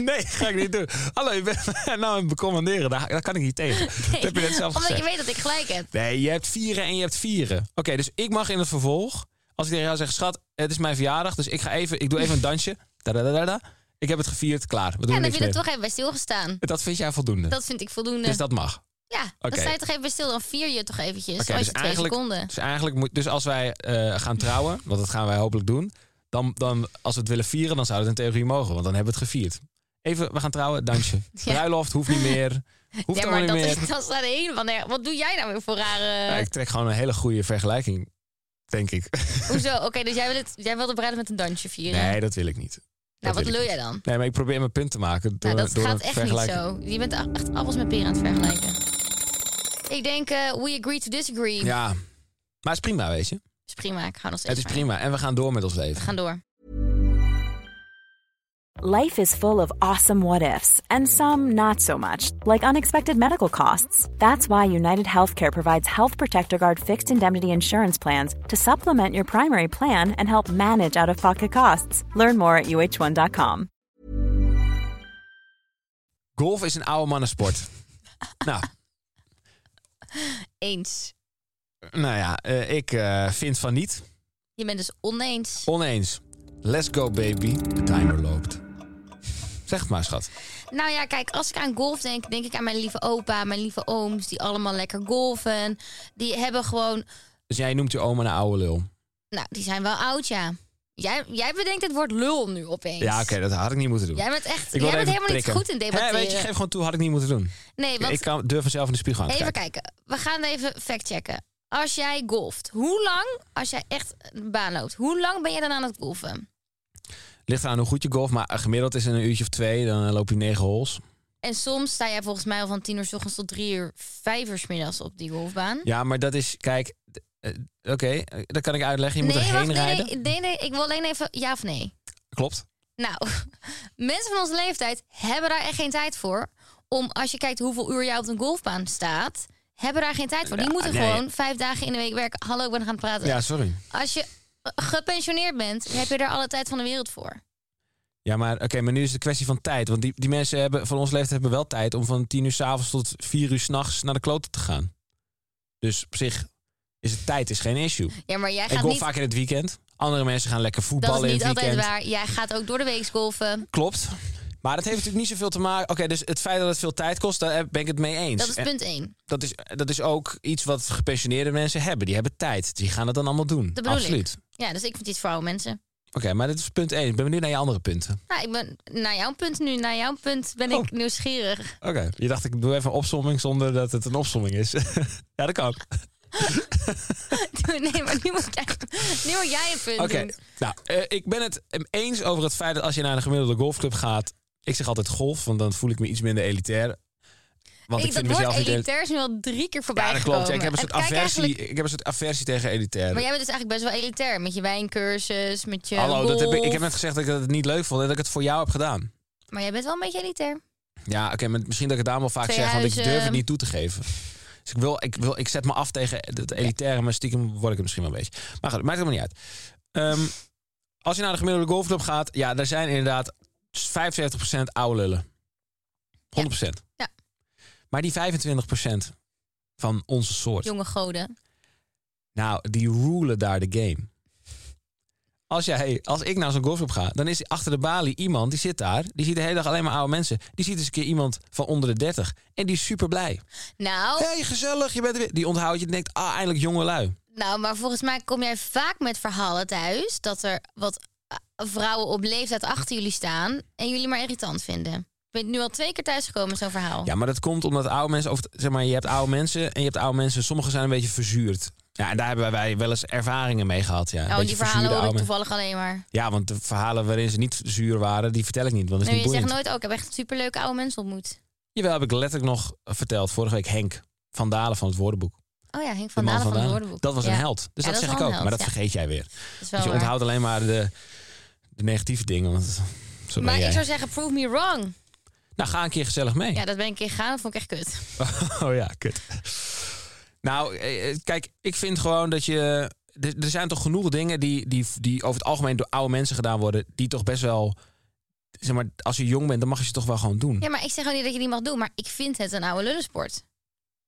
Speaker 1: Nee, ga ik niet doen. Hallo, je bent mij nou aan het becommaneren. Daar, daar kan ik niet tegen. Dat heb je net zelf
Speaker 2: Omdat
Speaker 1: gezegd.
Speaker 2: je weet dat ik gelijk heb.
Speaker 1: Nee, je hebt vieren en je hebt vieren. Oké, dus ik mag in het vervolg, als ik tegen jou zeg, schat, het is mijn verjaardag, dus ik ga even, ik doe even een dansje. Da-da-da-da-da. Ik heb het gevierd, klaar. We doen
Speaker 2: Ja, dan heb
Speaker 1: niks
Speaker 2: je er
Speaker 1: meer.
Speaker 2: toch even bij stilgestaan.
Speaker 1: Dat vind jij voldoende.
Speaker 2: Dat vind ik voldoende.
Speaker 1: Dus dat mag.
Speaker 2: ja,
Speaker 1: Oké.
Speaker 2: dan sta je toch even bij stil. Dan vier je toch eventjes.
Speaker 1: Oké,
Speaker 2: als
Speaker 1: dus
Speaker 2: je twee
Speaker 1: eigenlijk-
Speaker 2: seconden.
Speaker 1: Dus eigenlijk moet, dus als wij eh, gaan trouwen, want dat gaan wij hopelijk doen, dan, dan als we het willen vieren, dan zou het in theorie mogen, want dan hebben we het gevierd. Even, we gaan trouwen, dansje.
Speaker 2: Ja.
Speaker 1: Bruiloft hoeft niet meer. Hoeft
Speaker 2: ja,
Speaker 1: allemaal
Speaker 2: maar
Speaker 1: niet
Speaker 2: dat,
Speaker 1: meer.
Speaker 2: is, dat staat helemaal nergens. Wat doe jij nou weer voor rare...
Speaker 1: Ja, ik trek gewoon een hele goede vergelijking, denk ik.
Speaker 2: Hoezo? Oké, dus jij wil, het, jij wil de bruiloft met een dansje vieren?
Speaker 1: Nee, dat wil ik niet.
Speaker 2: nou, wat
Speaker 1: wil ik
Speaker 2: lul
Speaker 1: niet.
Speaker 2: jij dan?
Speaker 1: Nee, maar ik probeer mijn punt te maken door,
Speaker 2: Nou, dat
Speaker 1: door
Speaker 2: gaat
Speaker 1: een
Speaker 2: echt niet
Speaker 1: vergelijking.
Speaker 2: zo. Je bent echt appels met peren aan het vergelijken. Ik denk, eh, we agree to disagree.
Speaker 1: Ja, maar het is prima, weet je.
Speaker 2: Is prima, ik ga nog
Speaker 1: Het
Speaker 2: steeds
Speaker 1: is
Speaker 2: van
Speaker 1: prima en we gaan door met ons
Speaker 2: je.
Speaker 1: leven.
Speaker 2: We gaan door.
Speaker 3: Life is full of awesome what ifs, and some not so much, like unexpected medical costs. That's why United Healthcare provides Health Protector Guard fixed indemnity insurance plans to supplement your primary plan and help manage out of pocket costs. Learn more at uh1.com.
Speaker 1: Golf is een oude mannensport. nou,
Speaker 2: Eens.
Speaker 1: nou ja, eh, ik eh, vind van niet.
Speaker 2: Je bent dus oneens.
Speaker 1: Oneens. Let's go baby, de timer loopt. Zeg het maar, schat.
Speaker 2: Nou ja, kijk, als ik aan golf denk, denk ik aan mijn lieve opa, mijn lieve ooms, die allemaal lekker golven. Die hebben gewoon,
Speaker 1: Dus jij noemt je oma een oude lul.
Speaker 2: nou, die zijn wel oud, ja. Jij, jij bedenkt het woord lul nu opeens.
Speaker 1: Ja, oké, dat had ik niet moeten doen.
Speaker 2: Jij bent echt,
Speaker 1: ik
Speaker 2: jij
Speaker 1: wil
Speaker 2: bent
Speaker 1: even
Speaker 2: helemaal
Speaker 1: prikken.
Speaker 2: niet goed in
Speaker 1: Hè,
Speaker 2: debatteren.
Speaker 1: weet je, geef gewoon toe, had ik niet moeten doen.
Speaker 2: nee, want
Speaker 1: Ik kan, durf mezelf in de spiegel aan te
Speaker 2: Even
Speaker 1: kijken.
Speaker 2: kijken. We gaan even factchecken. Als jij golft, hoe lang, als jij echt een baan loopt, hoe lang ben je dan aan het golfen?
Speaker 1: Ligt eraan hoe goed je golf, maar eh, gemiddeld is het een uurtje of twee. Dan eh, loop je negen holes.
Speaker 2: En soms sta jij volgens mij al van tien uur s ochtends tot drie uur, vijf uur s middags op die golfbaan.
Speaker 1: Ja, maar dat is, kijk, d- eh, oké, eh, dat kan ik uitleggen. Je moet
Speaker 2: nee,
Speaker 1: erheen
Speaker 2: wacht, nee,
Speaker 1: rijden.
Speaker 2: nee, nee, nee, ik wil alleen even ja of nee.
Speaker 1: Klopt.
Speaker 2: Nou, mensen van onze leeftijd hebben daar echt geen tijd voor. Om, als je kijkt hoeveel uur jij op een golfbaan staat, hebben daar geen tijd voor. Die
Speaker 1: Ja,
Speaker 2: moeten
Speaker 1: nee.
Speaker 2: gewoon vijf dagen in de week werken. Hallo, ik ben gaan praten.
Speaker 1: Ja, sorry.
Speaker 2: Als je eh, gepensioneerd bent, heb je daar alle tijd van de wereld voor.
Speaker 1: Ja, maar oké, maar nu is het een kwestie van tijd. Want die, die mensen hebben, van ons leeftijd hebben wel tijd om van tien uur s'avonds tot vier uur s'nachts naar de kloten te gaan. Dus op zich is het tijd is geen issue.
Speaker 2: Ja, maar jij
Speaker 1: ik
Speaker 2: gaat
Speaker 1: golf
Speaker 2: niet
Speaker 1: vaak in het weekend. Andere mensen gaan lekker
Speaker 2: Dat
Speaker 1: voetballen
Speaker 2: is
Speaker 1: in
Speaker 2: niet
Speaker 1: het
Speaker 2: altijd
Speaker 1: weekend.
Speaker 2: waar. Jij gaat ook door de week golven.
Speaker 1: Klopt. Maar dat heeft natuurlijk niet zoveel te maken. Oké, dus het feit dat het veel tijd kost, daar ben ik het mee eens.
Speaker 2: Dat is
Speaker 1: En
Speaker 2: punt 1.
Speaker 1: dat, is, dat is ook iets wat gepensioneerde mensen hebben. Die hebben tijd. Die gaan het dan allemaal doen.
Speaker 2: Dat bedoel ik.
Speaker 1: Absoluut.
Speaker 2: Ja, dus ik vind iets voor oude mensen.
Speaker 1: Oké, maar dit is punt 1. Ik ben benieuwd naar je andere punten.
Speaker 2: Nou, ik ben naar jouw punt nu. Naar jouw punt ben ik
Speaker 1: Oh.
Speaker 2: nieuwsgierig.
Speaker 1: Oké, je dacht ik doe even een opsomming zonder dat het een opsomming is. ja, dat kan. Oké,
Speaker 2: nee, maar nu moet jij, nu moet jij een punt doen.
Speaker 1: nou, eh, ik ben het hem eens over het feit dat als je naar een gemiddelde golfclub gaat... Ik zeg altijd golf, want dan voel ik me iets minder elitair. Want ik, vind
Speaker 2: ik, dat
Speaker 1: mezelf
Speaker 2: woord
Speaker 1: niet...
Speaker 2: elitair is nu al drie keer voorbij
Speaker 1: Ja, dat klopt. Ja, ik,
Speaker 2: gekomen.
Speaker 1: heb een soort
Speaker 2: Het kijkt
Speaker 1: aversie, eh,
Speaker 2: eigenlijk-
Speaker 1: ik heb een soort aversie tegen elitair.
Speaker 2: Maar jij bent dus eigenlijk best wel elitair. Met je wijncursus, met je
Speaker 1: Hallo, dat heb ik, ik
Speaker 2: golf.
Speaker 1: heb net gezegd dat ik het niet leuk vond en dat ik het voor jou heb gedaan.
Speaker 2: Maar jij bent wel een beetje elitair.
Speaker 1: Ja, oké, maar misschien dat ik het daarom wel vaak
Speaker 2: Twee
Speaker 1: zeg, want ik
Speaker 2: huizen. ehm,
Speaker 1: durf het niet toe te geven. Dus ik, wil, ik, wil, ik zet me af tegen het elitaire, maar stiekem word ik het misschien wel een beetje. Maar goed, maakt het helemaal niet uit. Ehm, als je naar de gemiddelde golfclub gaat, ja, daar zijn inderdaad 75% oude lullen. 100%.
Speaker 2: Ja.
Speaker 1: Maar die 25% van onze soort,
Speaker 2: Jonge goden.
Speaker 1: nou, die rulen daar de game. Als, jij, als ik naar zo'n golfclub ga, dan is achter de balie iemand die zit daar. Die ziet de hele dag alleen maar oude mensen. Die ziet eens een keer iemand van onder de 30. En die is super blij.
Speaker 2: Nou,
Speaker 1: Hé, hey, gezellig, je bent er weer. Die onthoudt je en denkt, ah, eindelijk jonge lui.
Speaker 2: Nou, maar volgens mij kom jij vaak met verhalen thuis dat er wat eh, vrouwen op leeftijd achter jullie staan en jullie maar irritant vinden. Ik ben nu al twee keer thuisgekomen met zo'n verhaal.
Speaker 1: Ja, maar dat komt omdat oude mensen, of zeg maar, je hebt oude mensen en je hebt oude mensen. Sommigen zijn een beetje verzuurd. Ja, en daar hebben wij wel eens ervaringen mee gehad. Ja. Een
Speaker 2: Oh, die
Speaker 1: beetje verzuurde
Speaker 2: verhalen hoor
Speaker 1: oude-
Speaker 2: ik toevallig alleen maar.
Speaker 1: Ja, want de verhalen waarin ze niet zuur waren, die vertel ik niet. Want dat is
Speaker 2: Nee,
Speaker 1: niet
Speaker 2: je zegt
Speaker 1: boeiend.
Speaker 2: nooit, oh, ik heb echt superleuke oude mensen ontmoet.
Speaker 1: Jawel, heb ik letterlijk nog verteld. Vorige week Henk van Dalen van het woordenboek.
Speaker 2: Oh ja, Henk
Speaker 1: De
Speaker 2: van
Speaker 1: man
Speaker 2: Dalen van het
Speaker 1: Dalen.
Speaker 2: woordenboek.
Speaker 1: Dat was
Speaker 2: Ja.
Speaker 1: een held. Dus
Speaker 2: Ja,
Speaker 1: dat,
Speaker 2: dat is
Speaker 1: zeg ik
Speaker 2: wel
Speaker 1: ook.
Speaker 2: een
Speaker 1: maar
Speaker 2: held,
Speaker 1: dat
Speaker 2: ja.
Speaker 1: vergeet jij weer.
Speaker 2: Dat is wel
Speaker 1: Dus je
Speaker 2: waar.
Speaker 1: onthoudt alleen maar de, de negatieve dingen. Want zo ben
Speaker 2: Maar
Speaker 1: jij.
Speaker 2: ik zou zeggen, prove me wrong.
Speaker 1: Nou, ga een keer gezellig mee.
Speaker 2: Ja, dat ben ik een keer gegaan, dat vond ik echt kut.
Speaker 1: Oh ja, kut. Nou, eh, eh, kijk, ik vind gewoon dat je... Er er zijn toch genoeg dingen die, die, die over het algemeen door oude mensen gedaan worden... die toch best wel... Zeg maar, als je jong bent, dan mag je ze toch wel gewoon doen.
Speaker 2: Ja, maar ik zeg gewoon niet dat je die mag doen, maar ik vind het een oude lullensport.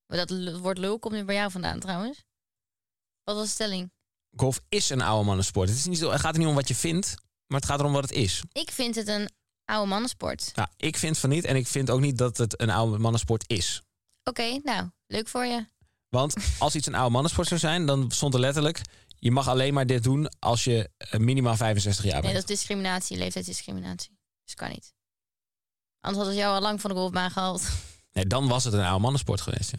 Speaker 2: Maar dat l- woord lul komt nu bij jou vandaan trouwens. Wat was de stelling?
Speaker 1: Golf is een oude mannensport. Het, is niet, zo- het gaat er niet om wat je vindt, maar het gaat erom wat het is.
Speaker 2: Ik vind het een oude mannensport.
Speaker 1: Nou, ik vind van niet en ik vind ook niet dat het een oude mannensport is.
Speaker 2: Oké, nou, leuk voor je.
Speaker 1: Want als iets een oude mannensport zou zijn, dan stond er letterlijk... je mag alleen maar dit doen als je eh, minimaal 65 jaar
Speaker 2: Nee,
Speaker 1: bent.
Speaker 2: dat is discriminatie, leeftijdsdiscriminatie. Dus kan niet. Anders hadden ze jou al lang van de golfbaan gehaald.
Speaker 1: Nee, dan was het een oude mannensport geweest. ja.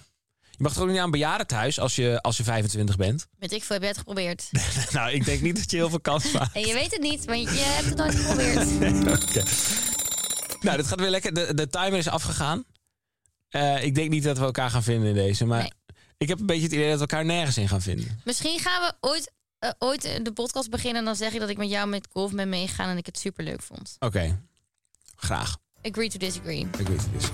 Speaker 1: Je mag toch ook niet aan bejaarden thuis als je, als je 25 bent?
Speaker 2: Met ik voor heb je het geprobeerd.
Speaker 1: nou, ik denk niet dat je heel veel kans maakt.
Speaker 2: En je weet het niet, want je hebt het nooit geprobeerd.
Speaker 1: Oké. Nou, dit gaat weer lekker. De, de timer is afgegaan. Eh, ik denk niet dat we elkaar gaan vinden in deze. Maar
Speaker 2: Nee.
Speaker 1: ik heb een beetje het idee dat we elkaar nergens in gaan vinden.
Speaker 2: Misschien gaan we ooit, eh, ooit de podcast beginnen en dan zeg ik dat ik met jou met golf ben meegegaan en ik het super leuk vond.
Speaker 1: Oké. Graag.
Speaker 2: Agree to disagree.
Speaker 1: Ik weet het is.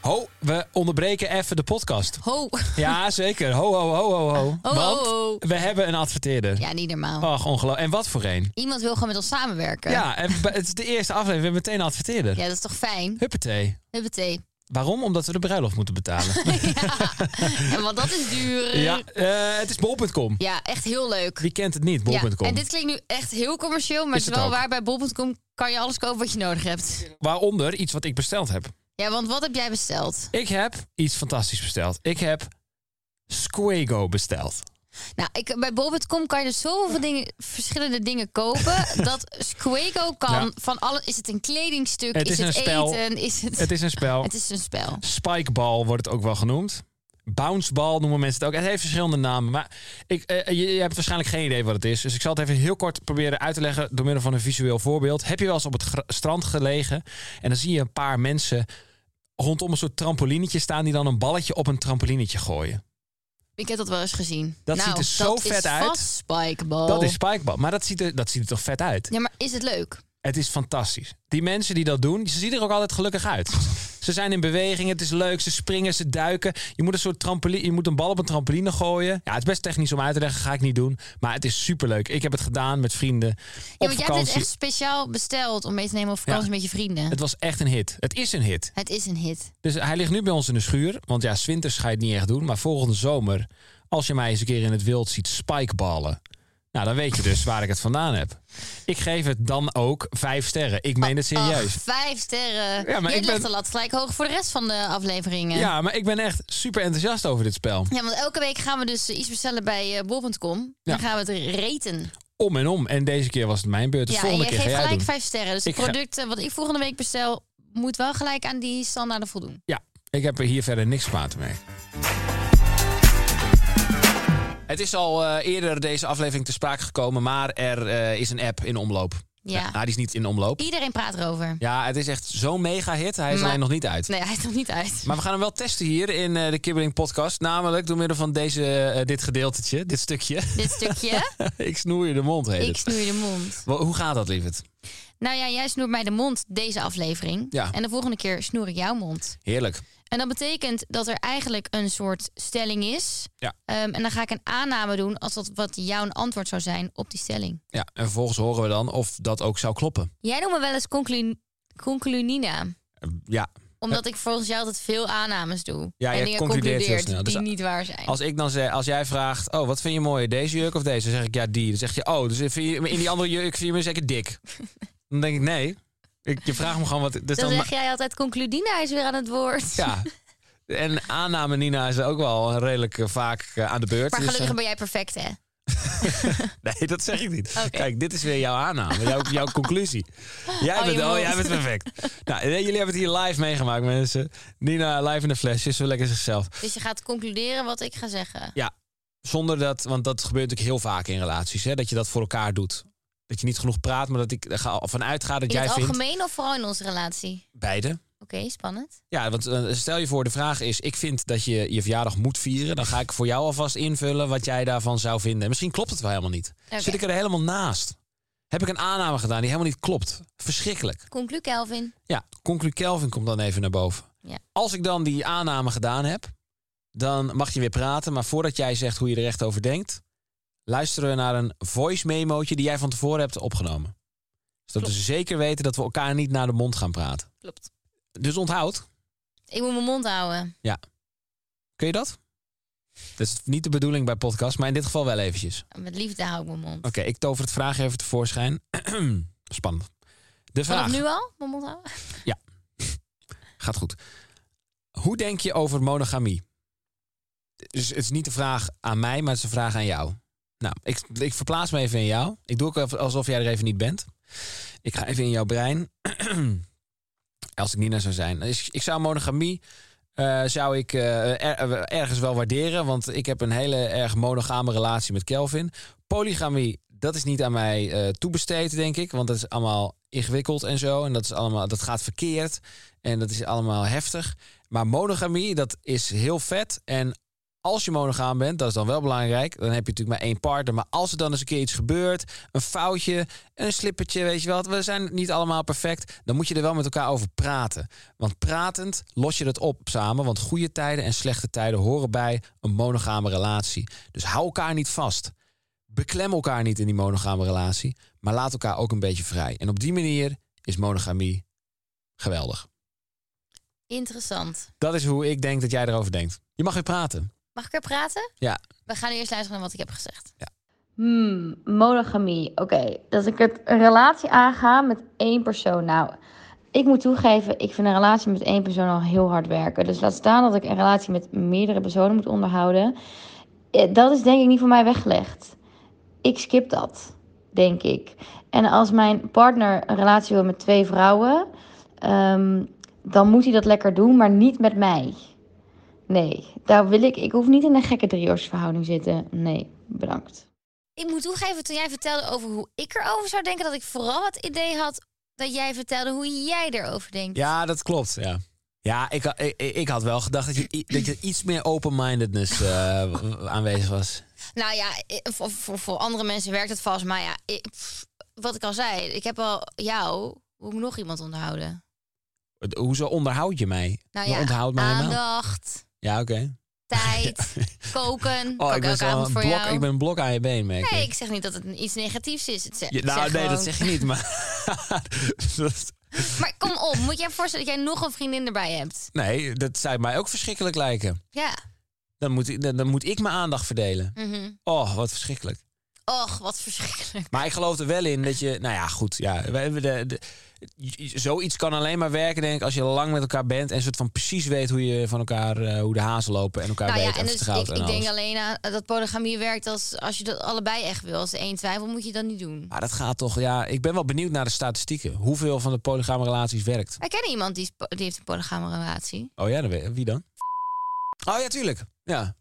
Speaker 1: Ho, we onderbreken even de podcast.
Speaker 2: Ho.
Speaker 1: Ja, zeker. Ho, ho, ho, ho, ho.
Speaker 2: ho,
Speaker 1: Want
Speaker 2: ho.
Speaker 1: we hebben een adverteerder.
Speaker 2: Ja, niet normaal.
Speaker 1: Och, ongelooflijk. En wat voor een.
Speaker 2: Iemand wil gewoon met ons samenwerken.
Speaker 1: Oh. Ja, en bij- het is de eerste aflevering. We hebben meteen een adverteerder.
Speaker 2: Ja, dat is toch fijn?
Speaker 1: Huppatee.
Speaker 2: Huppatee.
Speaker 1: Waarom? Omdat we de bruiloft moeten betalen.
Speaker 2: En want dat is duur.
Speaker 1: ja, eh, het is bol.com.
Speaker 2: Ja, echt heel leuk.
Speaker 1: Wie kent het niet,
Speaker 2: Ja,
Speaker 1: bol.com?
Speaker 2: en dit klinkt nu echt heel commercieel, maar
Speaker 1: Is
Speaker 2: het is
Speaker 1: het
Speaker 2: wel
Speaker 1: ook.
Speaker 2: waar. Bij bol.com kan je alles kopen wat je nodig hebt.
Speaker 1: Waaronder iets wat ik besteld heb.
Speaker 2: Ja, want wat heb jij besteld?
Speaker 1: Ik heb iets fantastisch besteld. Ik heb Squego besteld.
Speaker 2: Nou, ik, bij bol.com kan je dus zoveel dingen, verschillende dingen kopen. dat Squego kan
Speaker 1: Ja.
Speaker 2: van alles. Is het een kledingstuk?
Speaker 1: Het is
Speaker 2: het
Speaker 1: een spel.
Speaker 2: eten? Is het...
Speaker 1: Het is een spel.
Speaker 2: het is een spel.
Speaker 1: Spikeball wordt het ook wel genoemd. Bounceball noemen mensen het ook. Het heeft verschillende namen. Maar ik, eh, je, je hebt waarschijnlijk geen idee wat het is. Dus ik zal het even heel kort proberen uit te leggen door middel van een visueel voorbeeld. Heb je wel eens op het gra- strand gelegen en dan zie je een paar mensen rondom een soort trampolinetje staan die dan een balletje op een trampolinetje gooien.
Speaker 2: Ik heb dat wel eens gezien.
Speaker 1: Dat
Speaker 2: nou,
Speaker 1: ziet er zo
Speaker 2: dat
Speaker 1: vet
Speaker 2: is
Speaker 1: uit.
Speaker 2: Vast spikeball.
Speaker 1: Dat is spikeball. Maar dat ziet, er, dat ziet er toch vet uit?
Speaker 2: Ja, maar is het leuk?
Speaker 1: Het is fantastisch. Die mensen die dat doen, ze zien er ook altijd gelukkig uit. Ze zijn in beweging, het is leuk, ze springen, ze duiken. Je moet een soort trampoline, je moet een bal op een trampoline gooien. Ja, het is best technisch om uit te leggen, ga ik niet doen. Maar het is superleuk. Ik heb het gedaan met vrienden
Speaker 2: Ja,
Speaker 1: op
Speaker 2: want jij hebt dit
Speaker 1: vakantie.
Speaker 2: echt speciaal besteld om mee te nemen op vakantie
Speaker 1: Ja.
Speaker 2: met je vrienden.
Speaker 1: Het was echt een hit. Het is een hit.
Speaker 2: Het is een hit.
Speaker 1: Dus hij ligt nu bij ons in de schuur. Want ja, 's winters ga je het niet echt doen. Maar volgende zomer, als je mij eens een keer in het wild ziet spikeballen... Nou, dan weet je dus waar ik het vandaan heb. Ik geef het dan ook vijf sterren. Ik meen het
Speaker 2: Oh,
Speaker 1: serieus.
Speaker 2: Ach, vijf sterren.
Speaker 1: Ja, maar
Speaker 2: Jij
Speaker 1: ik
Speaker 2: legt
Speaker 1: ben-
Speaker 2: de lat gelijk hoog voor de rest van de afleveringen.
Speaker 1: Ja, maar ik ben echt super enthousiast over dit spel.
Speaker 2: Ja, want elke week gaan we dus eh, iets bestellen bij eh, bol.com. Dan
Speaker 1: Ja.
Speaker 2: gaan we het raten.
Speaker 1: Om en om. En deze keer was het mijn beurt. Dus
Speaker 2: ja, en
Speaker 1: volgende
Speaker 2: je
Speaker 1: keer
Speaker 2: geeft
Speaker 1: ga jij
Speaker 2: gelijk
Speaker 1: doen.
Speaker 2: vijf sterren. Dus de
Speaker 1: Ik ga-
Speaker 2: producten wat ik volgende week bestel, moet wel gelijk aan die standaarden voldoen.
Speaker 1: Ja, ik heb er hier verder niks kwaad mee. Het is al eh, eerder deze aflevering te sprake gekomen, maar er eh, is een app in omloop.
Speaker 2: Ja.
Speaker 1: Nou, die is niet in omloop.
Speaker 2: Iedereen praat erover.
Speaker 1: Ja, het is echt zo'n mega hit. Hij is
Speaker 2: Maar-
Speaker 1: alleen nog niet uit.
Speaker 2: Nee, hij is nog niet uit.
Speaker 1: Maar we gaan hem wel testen hier in eh, de Kibbeling Podcast. Namelijk door middel van deze, eh, dit gedeeltetje, dit stukje.
Speaker 2: Dit stukje.
Speaker 1: ik snoer je de mond, heet
Speaker 2: ik
Speaker 1: het.
Speaker 2: snoei de mond.
Speaker 1: Wel, Hoe gaat dat, lieverd?
Speaker 2: Nou ja, jij snoert mij de mond deze aflevering.
Speaker 1: Ja.
Speaker 2: En de volgende keer snoer ik jouw mond.
Speaker 1: Heerlijk.
Speaker 2: En dat betekent dat er eigenlijk een soort stelling is.
Speaker 1: Ja.
Speaker 2: Ehm, en dan ga ik een aanname doen als dat wat jouw antwoord zou zijn op die stelling.
Speaker 1: Ja, en vervolgens horen we dan of dat ook zou kloppen.
Speaker 2: Jij noemt me wel eens conclu- conclunina.
Speaker 1: Eh, Ja,
Speaker 2: Omdat ik volgens jou altijd veel aannames doe.
Speaker 1: Ja,
Speaker 2: en
Speaker 1: jij
Speaker 2: dingen
Speaker 1: concludeert heel
Speaker 2: concludeert
Speaker 1: snel.
Speaker 2: die
Speaker 1: Dus
Speaker 2: niet waar zijn.
Speaker 1: als ik dan zeg, als jij vraagt, oh, wat vind je mooier, deze jurk of deze? Dan zeg ik ja, die. Dan zeg je, oh, dus vind je, in die andere jurk vind je me zeker dik. Dan denk ik nee. Ik, je vraagt me gewoon wat. Dus
Speaker 2: dan
Speaker 1: dan,
Speaker 2: zeg jij altijd concludina is weer aan het woord.
Speaker 1: ja. En aanname Nina is ook wel redelijk eh, vaak eh, aan de beurt.
Speaker 2: Maar
Speaker 1: Dus,
Speaker 2: gelukkig
Speaker 1: eh,
Speaker 2: ben jij perfect, hè?
Speaker 1: nee, dat zeg ik niet.
Speaker 2: Oké.
Speaker 1: Kijk, dit is weer jouw aanname, jouw, jouw conclusie. Jij
Speaker 2: Oh,
Speaker 1: bent,
Speaker 2: je
Speaker 1: oh,
Speaker 2: mond.
Speaker 1: jij bent perfect. nou, eh, jullie hebben het hier live meegemaakt, mensen. Nina live in de fles, is zo lekker zichzelf.
Speaker 2: Dus je gaat concluderen wat ik ga zeggen.
Speaker 1: Ja, zonder dat, want dat gebeurt natuurlijk heel vaak in relaties, hè, dat je dat voor elkaar doet. Dat je niet genoeg praat, maar dat ik er ga- vanuit ga dat
Speaker 2: In
Speaker 1: jij
Speaker 2: het
Speaker 1: vindt.
Speaker 2: algemeen of vooral in onze relatie?
Speaker 1: Beide.
Speaker 2: Oké, spannend.
Speaker 1: Ja, want eh, stel je voor, de vraag is: ik vind dat je je verjaardag moet vieren. Dan ga ik voor jou alvast invullen wat jij daarvan zou vinden. En Misschien klopt het wel helemaal niet.
Speaker 2: Oké.
Speaker 1: Zit ik er helemaal naast? Heb ik een aanname gedaan die helemaal niet klopt? Verschrikkelijk.
Speaker 2: Conclu Kelvin.
Speaker 1: Ja, conclu Kelvin komt dan even naar boven.
Speaker 2: Ja.
Speaker 1: Als ik dan die aanname gedaan heb, dan mag je weer praten. Maar voordat jij zegt hoe je er echt over denkt, luisteren we naar een voice memootje die jij van tevoren hebt opgenomen. Zodat we zeker weten dat we elkaar niet naar de mond gaan praten.
Speaker 2: Klopt.
Speaker 1: Dus onthoud.
Speaker 2: Ik moet mijn mond houden.
Speaker 1: Kun je dat? Dat is niet de bedoeling bij podcast, maar in dit geval wel eventjes.
Speaker 2: Met liefde hou ik mijn mond.
Speaker 1: Oké, ik tover het vraag even tevoorschijn. Spannend. De vraag
Speaker 2: Vanaf nu al? Mijn mond houden?
Speaker 1: gaat goed. Hoe denk je over monogamie? Dus het is niet de vraag aan mij, maar het is een vraag aan jou. Nou, ik, ik verplaats me even in jou. Ik doe ook even alsof jij er even niet bent. Ik ga even in jouw brein. Als ik Nina zou zijn. Dus ik zou monogamie eh, zou ik, eh, er- ergens wel waarderen. Want ik heb een hele erg monogame relatie met Kelvin. Polygamie, dat is niet aan mij eh, toebesteed, denk ik. Want dat is allemaal ingewikkeld en zo. En dat, is allemaal, dat gaat verkeerd. En dat is allemaal heftig. Maar monogamie, dat is heel vet. En als je monogaam bent, dat is dan wel belangrijk. Dan heb je natuurlijk maar één partner. Maar als er dan eens een keer iets gebeurt, een foutje, een slippertje, weet je wel. We zijn niet allemaal perfect. Dan moet je er wel met elkaar over praten. Want pratend los je dat op samen. Want goede tijden en slechte tijden horen bij een monogame relatie. Dus hou elkaar niet vast. Beklem elkaar niet in die monogame relatie. Maar laat elkaar ook een beetje vrij. En op die manier is monogamie geweldig.
Speaker 2: Interessant.
Speaker 1: Dat is hoe ik denk dat jij erover denkt. Je mag weer praten.
Speaker 2: Mag ik er praten?
Speaker 1: Ja.
Speaker 2: We gaan nu eerst luisteren naar wat ik heb gezegd.
Speaker 4: Hmm, monogamie. Oké, dat ik het een relatie aanga met één persoon. Nou, ik moet toegeven, ik vind een relatie met één persoon al heel hard werken. Dus laat staan dat ik een relatie met meerdere personen moet onderhouden. Eh, Dat is denk ik niet voor mij weggelegd. Ik skip dat, denk ik. En als mijn partner een relatie wil met twee vrouwen, ehm, dan moet hij dat lekker doen, maar niet met mij. Nee, daar wil ik. Ik hoef niet in een gekke drieursverhouding zitten. Nee, bedankt.
Speaker 2: Ik moet toegeven, toen jij vertelde over hoe ik erover zou denken, dat ik vooral het idee had dat jij vertelde hoe jij erover denkt.
Speaker 1: Ja, dat klopt. Ja, ja ik, ha- ik, ik had wel gedacht dat je, i- dat je iets meer open-mindedness eh, w- aanwezig was.
Speaker 2: Nou ja, eh, voor, voor, voor andere mensen werkt het vast. Maar ja, ik- pff, wat ik al zei, ik heb al jou. Hoe moet ik nog iemand onthouden?
Speaker 1: Het- Hoezo onderhoud je mij?
Speaker 2: Nou
Speaker 1: Je
Speaker 2: ja,
Speaker 1: onthoudt mij helemaal.
Speaker 2: aandacht,
Speaker 1: Ja, oké.
Speaker 2: tijd, koken.
Speaker 1: Oh,
Speaker 2: Kook
Speaker 1: ik ben,
Speaker 2: elke
Speaker 1: zo'n
Speaker 2: avond voor
Speaker 1: blok,
Speaker 2: jou.
Speaker 1: ik ben een blok aan je been, merk
Speaker 2: Nee,
Speaker 1: ik.
Speaker 2: ik zeg niet dat het iets negatiefs is. Het ze-
Speaker 1: Je-
Speaker 2: ik
Speaker 1: nou,
Speaker 2: zeg
Speaker 1: nee, dat
Speaker 2: gewoon-
Speaker 1: zeg je niet, maar... dat-
Speaker 2: Maar kom op, moet jij voorstellen dat jij nog een vriendin erbij hebt?
Speaker 1: nee, dat zou mij ook verschrikkelijk lijken.
Speaker 2: Ja.
Speaker 1: Dan moet, ik- dan, dan moet ik mijn aandacht verdelen.
Speaker 2: Mhm.
Speaker 1: Oh, wat verschrikkelijk.
Speaker 2: Och, wat verschrikkelijk.
Speaker 1: Maar ik geloof er wel in dat je... Nou ja, goed. Ja, we hebben de, de- j- zoiets kan alleen maar werken, denk ik, als je lang met elkaar bent... en soort van precies weet hoe je van elkaar... eh, hoe de hazen lopen en elkaar
Speaker 2: nou
Speaker 1: weet
Speaker 2: ja, en
Speaker 1: over
Speaker 2: dus
Speaker 1: het goud
Speaker 2: ik,
Speaker 1: en
Speaker 2: ik
Speaker 1: alles.
Speaker 2: denk alleen aan dat polygamie werkt als, als je dat allebei echt wil. Als de één twijfelt, moet je dat niet doen.
Speaker 1: Maar dat gaat toch... Ja, ik ben wel benieuwd naar de statistieken. Hoeveel van de polygame relaties werkt?
Speaker 2: Wij kennen iemand die, is po- die heeft een polygame relatie.
Speaker 1: Oh ja, dan weet, wie dan? Oh ja, tuurlijk. Ja,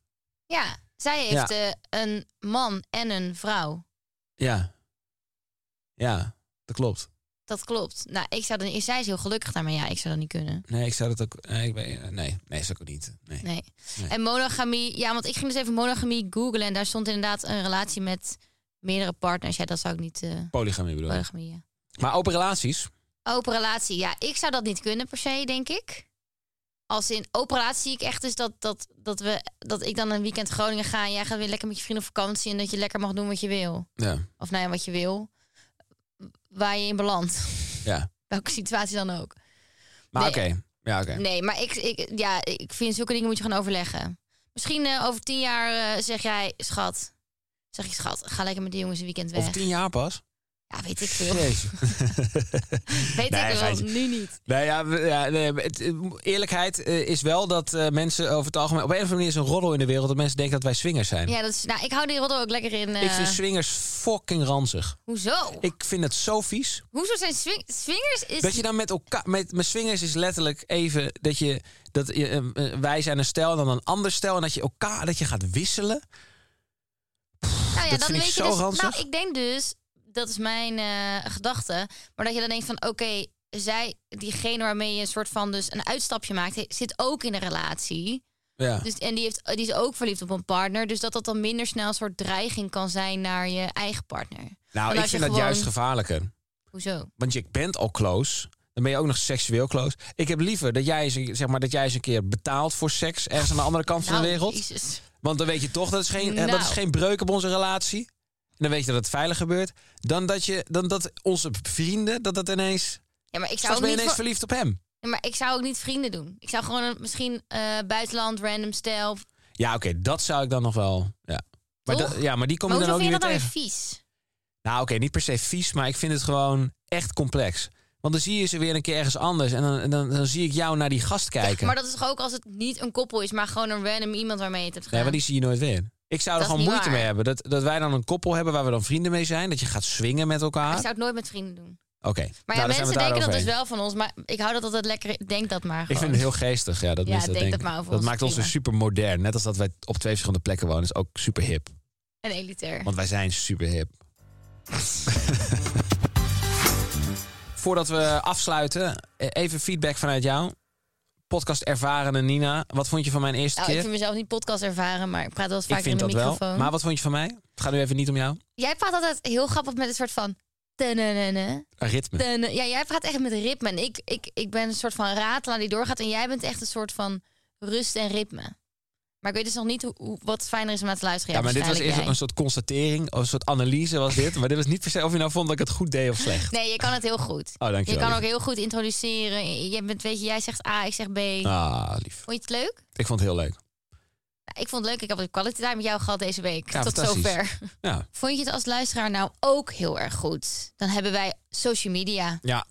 Speaker 2: Ja, zij heeft eh, een man en een vrouw.
Speaker 1: ja. Ja, dat klopt.
Speaker 2: Dat klopt. Nou, ik zou dan, zij is heel gelukkig daar, maar ja, ik zou dat niet kunnen.
Speaker 1: Nee, ik zou dat ook... Nee, ik weet- nee, nee zou ik ook niet. Nee.
Speaker 2: Nee.
Speaker 1: Nee.
Speaker 2: En monogamie, ja, want ik ging dus even monogamie googlen en daar stond inderdaad een relatie met meerdere partners. Ja, dat zou ik niet. eh
Speaker 1: Polygamie bedoel ik.
Speaker 2: polygamie, ja.
Speaker 1: Maar open relaties?
Speaker 2: Open relatie, ja, ik zou dat niet kunnen per se, denk ik. Als in open relatie zie ik echt dus dat, dat, dat, we, dat ik dan een weekend Groningen ga en jij gaat weer lekker met je vrienden op vakantie en dat je lekker mag doen wat je wil.
Speaker 1: Ja,
Speaker 2: Of nou ja, wat je wil. Waar je in belandt.
Speaker 1: ja.
Speaker 2: Welke situatie dan ook.
Speaker 1: Maar
Speaker 2: Nee.
Speaker 1: oké. Ja, oké.
Speaker 2: Nee, maar ik, ik, ja, ik vind zulke dingen moet je gewoon overleggen. Misschien eh, over tien jaar eh, zeg jij, schat. Zeg ik, schat, ga lekker met die jongens een weekend weg.
Speaker 1: Over tien jaar pas?
Speaker 2: Ja, weet ik veel.
Speaker 1: Jezus.
Speaker 2: Weet
Speaker 1: Nee,
Speaker 2: ik wel,
Speaker 1: geintje.
Speaker 2: nu niet.
Speaker 1: Nou ja, we- ja nee, maar het- eh, eerlijkheid eh, is wel dat eh, mensen over het algemeen... Op een of andere manier is een roddel in de wereld dat mensen denken dat wij swingers zijn.
Speaker 2: Ja, dat is, nou, ik hou die roddel ook lekker in. eh,
Speaker 1: Ik vind swingers fucking ranzig.
Speaker 2: hoezo?
Speaker 1: Ik vind het zo vies.
Speaker 2: Hoezo zijn swing, swingers... Is,
Speaker 1: Dat je dan met elkaar... Met, met swingers is letterlijk even dat je... Dat je eh, eh, wij zijn een stijl en dan een ander stijl. En dat je elkaar dat je gaat wisselen.
Speaker 2: nou ja,
Speaker 1: dat
Speaker 2: dan
Speaker 1: vind ik
Speaker 2: weet
Speaker 1: zo
Speaker 2: je dus,
Speaker 1: ranzig.
Speaker 2: Nou, ik denk dus, dat is mijn eh, gedachte, maar dat je dan denkt van, oké, zij, diegene waarmee je een soort van dus een uitstapje maakt, he- zit ook in een relatie.
Speaker 1: Ja.
Speaker 2: Dus, en die, heeft, die is ook verliefd op een partner. Dus dat dat dan minder snel een soort dreiging kan zijn naar je eigen partner.
Speaker 1: nou,
Speaker 2: als
Speaker 1: ik
Speaker 2: je
Speaker 1: vind dat
Speaker 2: gewoon-
Speaker 1: juist gevaarlijker.
Speaker 2: Hoezo?
Speaker 1: Want je bent al close. Dan ben je ook nog seksueel close. Ik heb liever dat jij eens, een- zeg maar, dat jij eens een keer betaalt voor seks. Ergens aan de andere kant van de
Speaker 2: Nou,
Speaker 1: wereld.
Speaker 2: Jezus.
Speaker 1: Want dan weet je toch, dat is geen, eh, dat
Speaker 2: Nou.
Speaker 1: is geen breuk op onze relatie. En dan weet je dat het veilig gebeurt. Dan dat, je, dan dat onze vrienden, dat dat ineens...
Speaker 2: Ja, maar ik zou
Speaker 1: Straks
Speaker 2: ook
Speaker 1: ben je
Speaker 2: niet
Speaker 1: ineens
Speaker 2: voor-
Speaker 1: verliefd op hem.
Speaker 2: Ja, maar ik zou ook niet vrienden doen. Ik zou gewoon een- misschien eh, buitenland, random stijl.
Speaker 1: Ja, oké, dat zou ik dan nog wel... Ja, maar,
Speaker 2: Toch?
Speaker 1: dat- ja, maar die kom
Speaker 2: Maar
Speaker 1: je dan
Speaker 2: hoezo
Speaker 1: ook
Speaker 2: vind je
Speaker 1: niet meer
Speaker 2: dat dan weer
Speaker 1: tegen.
Speaker 2: vies?
Speaker 1: Nou, oké, niet per se vies, maar ik vind het gewoon echt complex. Want dan zie je ze weer een keer ergens anders. En dan, en dan, dan zie ik jou naar die gast kijken.
Speaker 2: Maar dat is toch ook als het niet een koppel is, maar gewoon een random iemand waarmee je het hebt
Speaker 1: Nee,
Speaker 2: gedaan.
Speaker 1: maar die zie je nooit weer. Ik zou er
Speaker 2: Dat is
Speaker 1: gewoon
Speaker 2: niet
Speaker 1: moeite
Speaker 2: waar.
Speaker 1: mee hebben. Dat, dat wij dan een koppel hebben waar we dan vrienden mee zijn. Dat je gaat swingen met elkaar.
Speaker 2: Ik
Speaker 1: Oké,
Speaker 2: zou het nooit met vrienden doen. Maar
Speaker 1: nou,
Speaker 2: ja,
Speaker 1: dan zijn we
Speaker 2: mensen
Speaker 1: daar
Speaker 2: denken dat dus
Speaker 1: overheen.
Speaker 2: wel van ons, maar ik hou dat altijd lekker. Ik Denk dat maar.
Speaker 1: Ik
Speaker 2: gewoon.
Speaker 1: vind het heel geestig, ja. Dat
Speaker 2: Ja,
Speaker 1: mensen dat
Speaker 2: denk dat
Speaker 1: denken.
Speaker 2: maar over
Speaker 1: dat
Speaker 2: ons,
Speaker 1: maakt ons weer
Speaker 2: prima.
Speaker 1: super modern. Net als dat wij op twee verschillende plekken wonen, is ook super hip.
Speaker 2: En elitair.
Speaker 1: Want wij zijn super hip. Voordat we afsluiten, eh, even feedback vanuit jou. Podcast ervarende Nina. Wat vond je van mijn eerste
Speaker 2: Nou, ik
Speaker 1: keer?
Speaker 2: vind mezelf niet podcast ervaren, maar ik praat wel eens
Speaker 1: Ik
Speaker 2: vaker
Speaker 1: vind
Speaker 2: in
Speaker 1: dat
Speaker 2: de microfoon.
Speaker 1: wel. Maar wat vond je van mij? Het gaat nu even niet om jou.
Speaker 2: Jij praat altijd heel grappig met een soort van. tananana,
Speaker 1: Een ritme.
Speaker 2: tanana. Ja, jij praat echt met ritme. En ik, ik, ik ben een soort van ratelaar die doorgaat. En jij bent echt een soort van rust en ritme. Maar ik weet dus nog niet hoe, hoe- wat fijner is om naar te luisteren.
Speaker 1: Ja, maar dit was
Speaker 2: waarschijnlijk
Speaker 1: eerst
Speaker 2: jij.
Speaker 1: een soort constatering, een soort analyse was dit. Maar dit was niet per se of je nou vond dat ik het goed deed of slecht.
Speaker 2: Nee, je kan het heel goed.
Speaker 1: Oh, dankjewel.
Speaker 2: je kan ook
Speaker 1: lief.
Speaker 2: heel goed introduceren. Je bent, weet je, jij zegt A, ik zeg B.
Speaker 1: Ah, lief.
Speaker 2: Vond je het leuk?
Speaker 1: Ik vond het heel leuk.
Speaker 2: Nou, ik vond het leuk. Ik heb een quality time met jou gehad deze week.
Speaker 1: Ja,
Speaker 2: Tot
Speaker 1: fantastisch.
Speaker 2: zover.
Speaker 1: Ja,
Speaker 2: Vond je het als luisteraar nou ook heel erg goed? Dan hebben wij social media.
Speaker 1: ja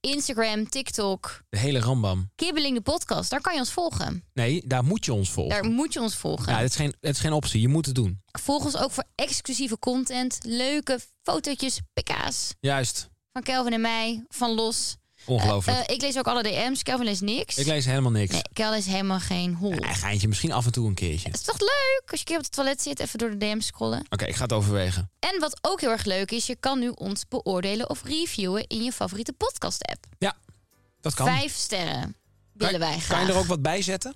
Speaker 2: Instagram, TikTok,
Speaker 1: de hele rambam.
Speaker 2: Kibbeling de podcast. Daar kan je ons volgen.
Speaker 1: Nee, daar moet je ons volgen.
Speaker 2: Daar moet je ons volgen.
Speaker 1: Ja, het is, geen, het is geen optie. Je moet het doen.
Speaker 2: Volg ons ook voor exclusieve content. Leuke fotootjes, pk's
Speaker 1: Juist.
Speaker 2: van Kelvin en mij, van Los.
Speaker 1: Ongelooflijk.
Speaker 2: Eh, ik lees ook alle DM's. Kelvin leest niks.
Speaker 1: ik lees helemaal niks.
Speaker 2: Nee, Kelvin is helemaal geen hol.
Speaker 1: Ja, geintje, misschien af en toe een keertje. Oké,
Speaker 2: Het is toch leuk als je een keer op het toilet zit, even door de DM scrollen.
Speaker 1: ik ga het overwegen.
Speaker 2: En wat ook heel erg leuk is, je kan nu ons beoordelen of reviewen in je favoriete podcast-app.
Speaker 1: Ja, dat kan.
Speaker 2: Vijf sterren willen
Speaker 1: Kan-
Speaker 2: wij graag.
Speaker 1: Kan je er ook wat bij zetten?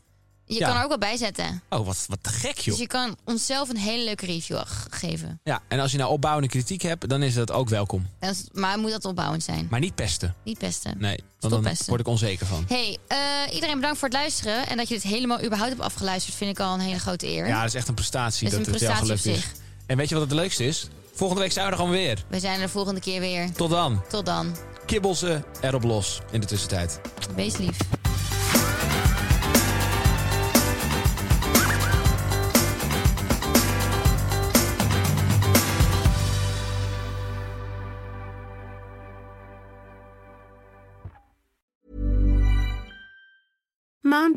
Speaker 2: Je
Speaker 1: ja.
Speaker 2: kan er ook wat bij zetten.
Speaker 1: Oh, wat, wat te gek, joh.
Speaker 2: Dus je kan onszelf een hele leuke review ge- geven.
Speaker 1: Ja, en als je nou opbouwende kritiek hebt, dan is dat ook welkom.
Speaker 2: En als- Maar moet dat opbouwend zijn.
Speaker 1: Maar niet pesten.
Speaker 2: Niet pesten.
Speaker 1: Nee, want
Speaker 2: Stop
Speaker 1: dan
Speaker 2: pesten.
Speaker 1: word ik onzeker van.
Speaker 2: Hey, eh, iedereen bedankt voor het luisteren. En dat je dit helemaal überhaupt hebt afgeluisterd, vind ik al een hele grote eer.
Speaker 1: Ja, dat is echt een prestatie
Speaker 2: Dat
Speaker 1: dat,
Speaker 2: is een
Speaker 1: het jou
Speaker 2: prestatie
Speaker 1: gelukt is.
Speaker 2: op
Speaker 1: En weet je wat het leukste is? Volgende week zijn we er gewoon weer.
Speaker 2: We zijn er de volgende keer weer.
Speaker 1: Tot dan.
Speaker 2: Tot dan.
Speaker 1: Kibbel ze erop los in de tussentijd.
Speaker 2: Wees lief.
Speaker 5: Mom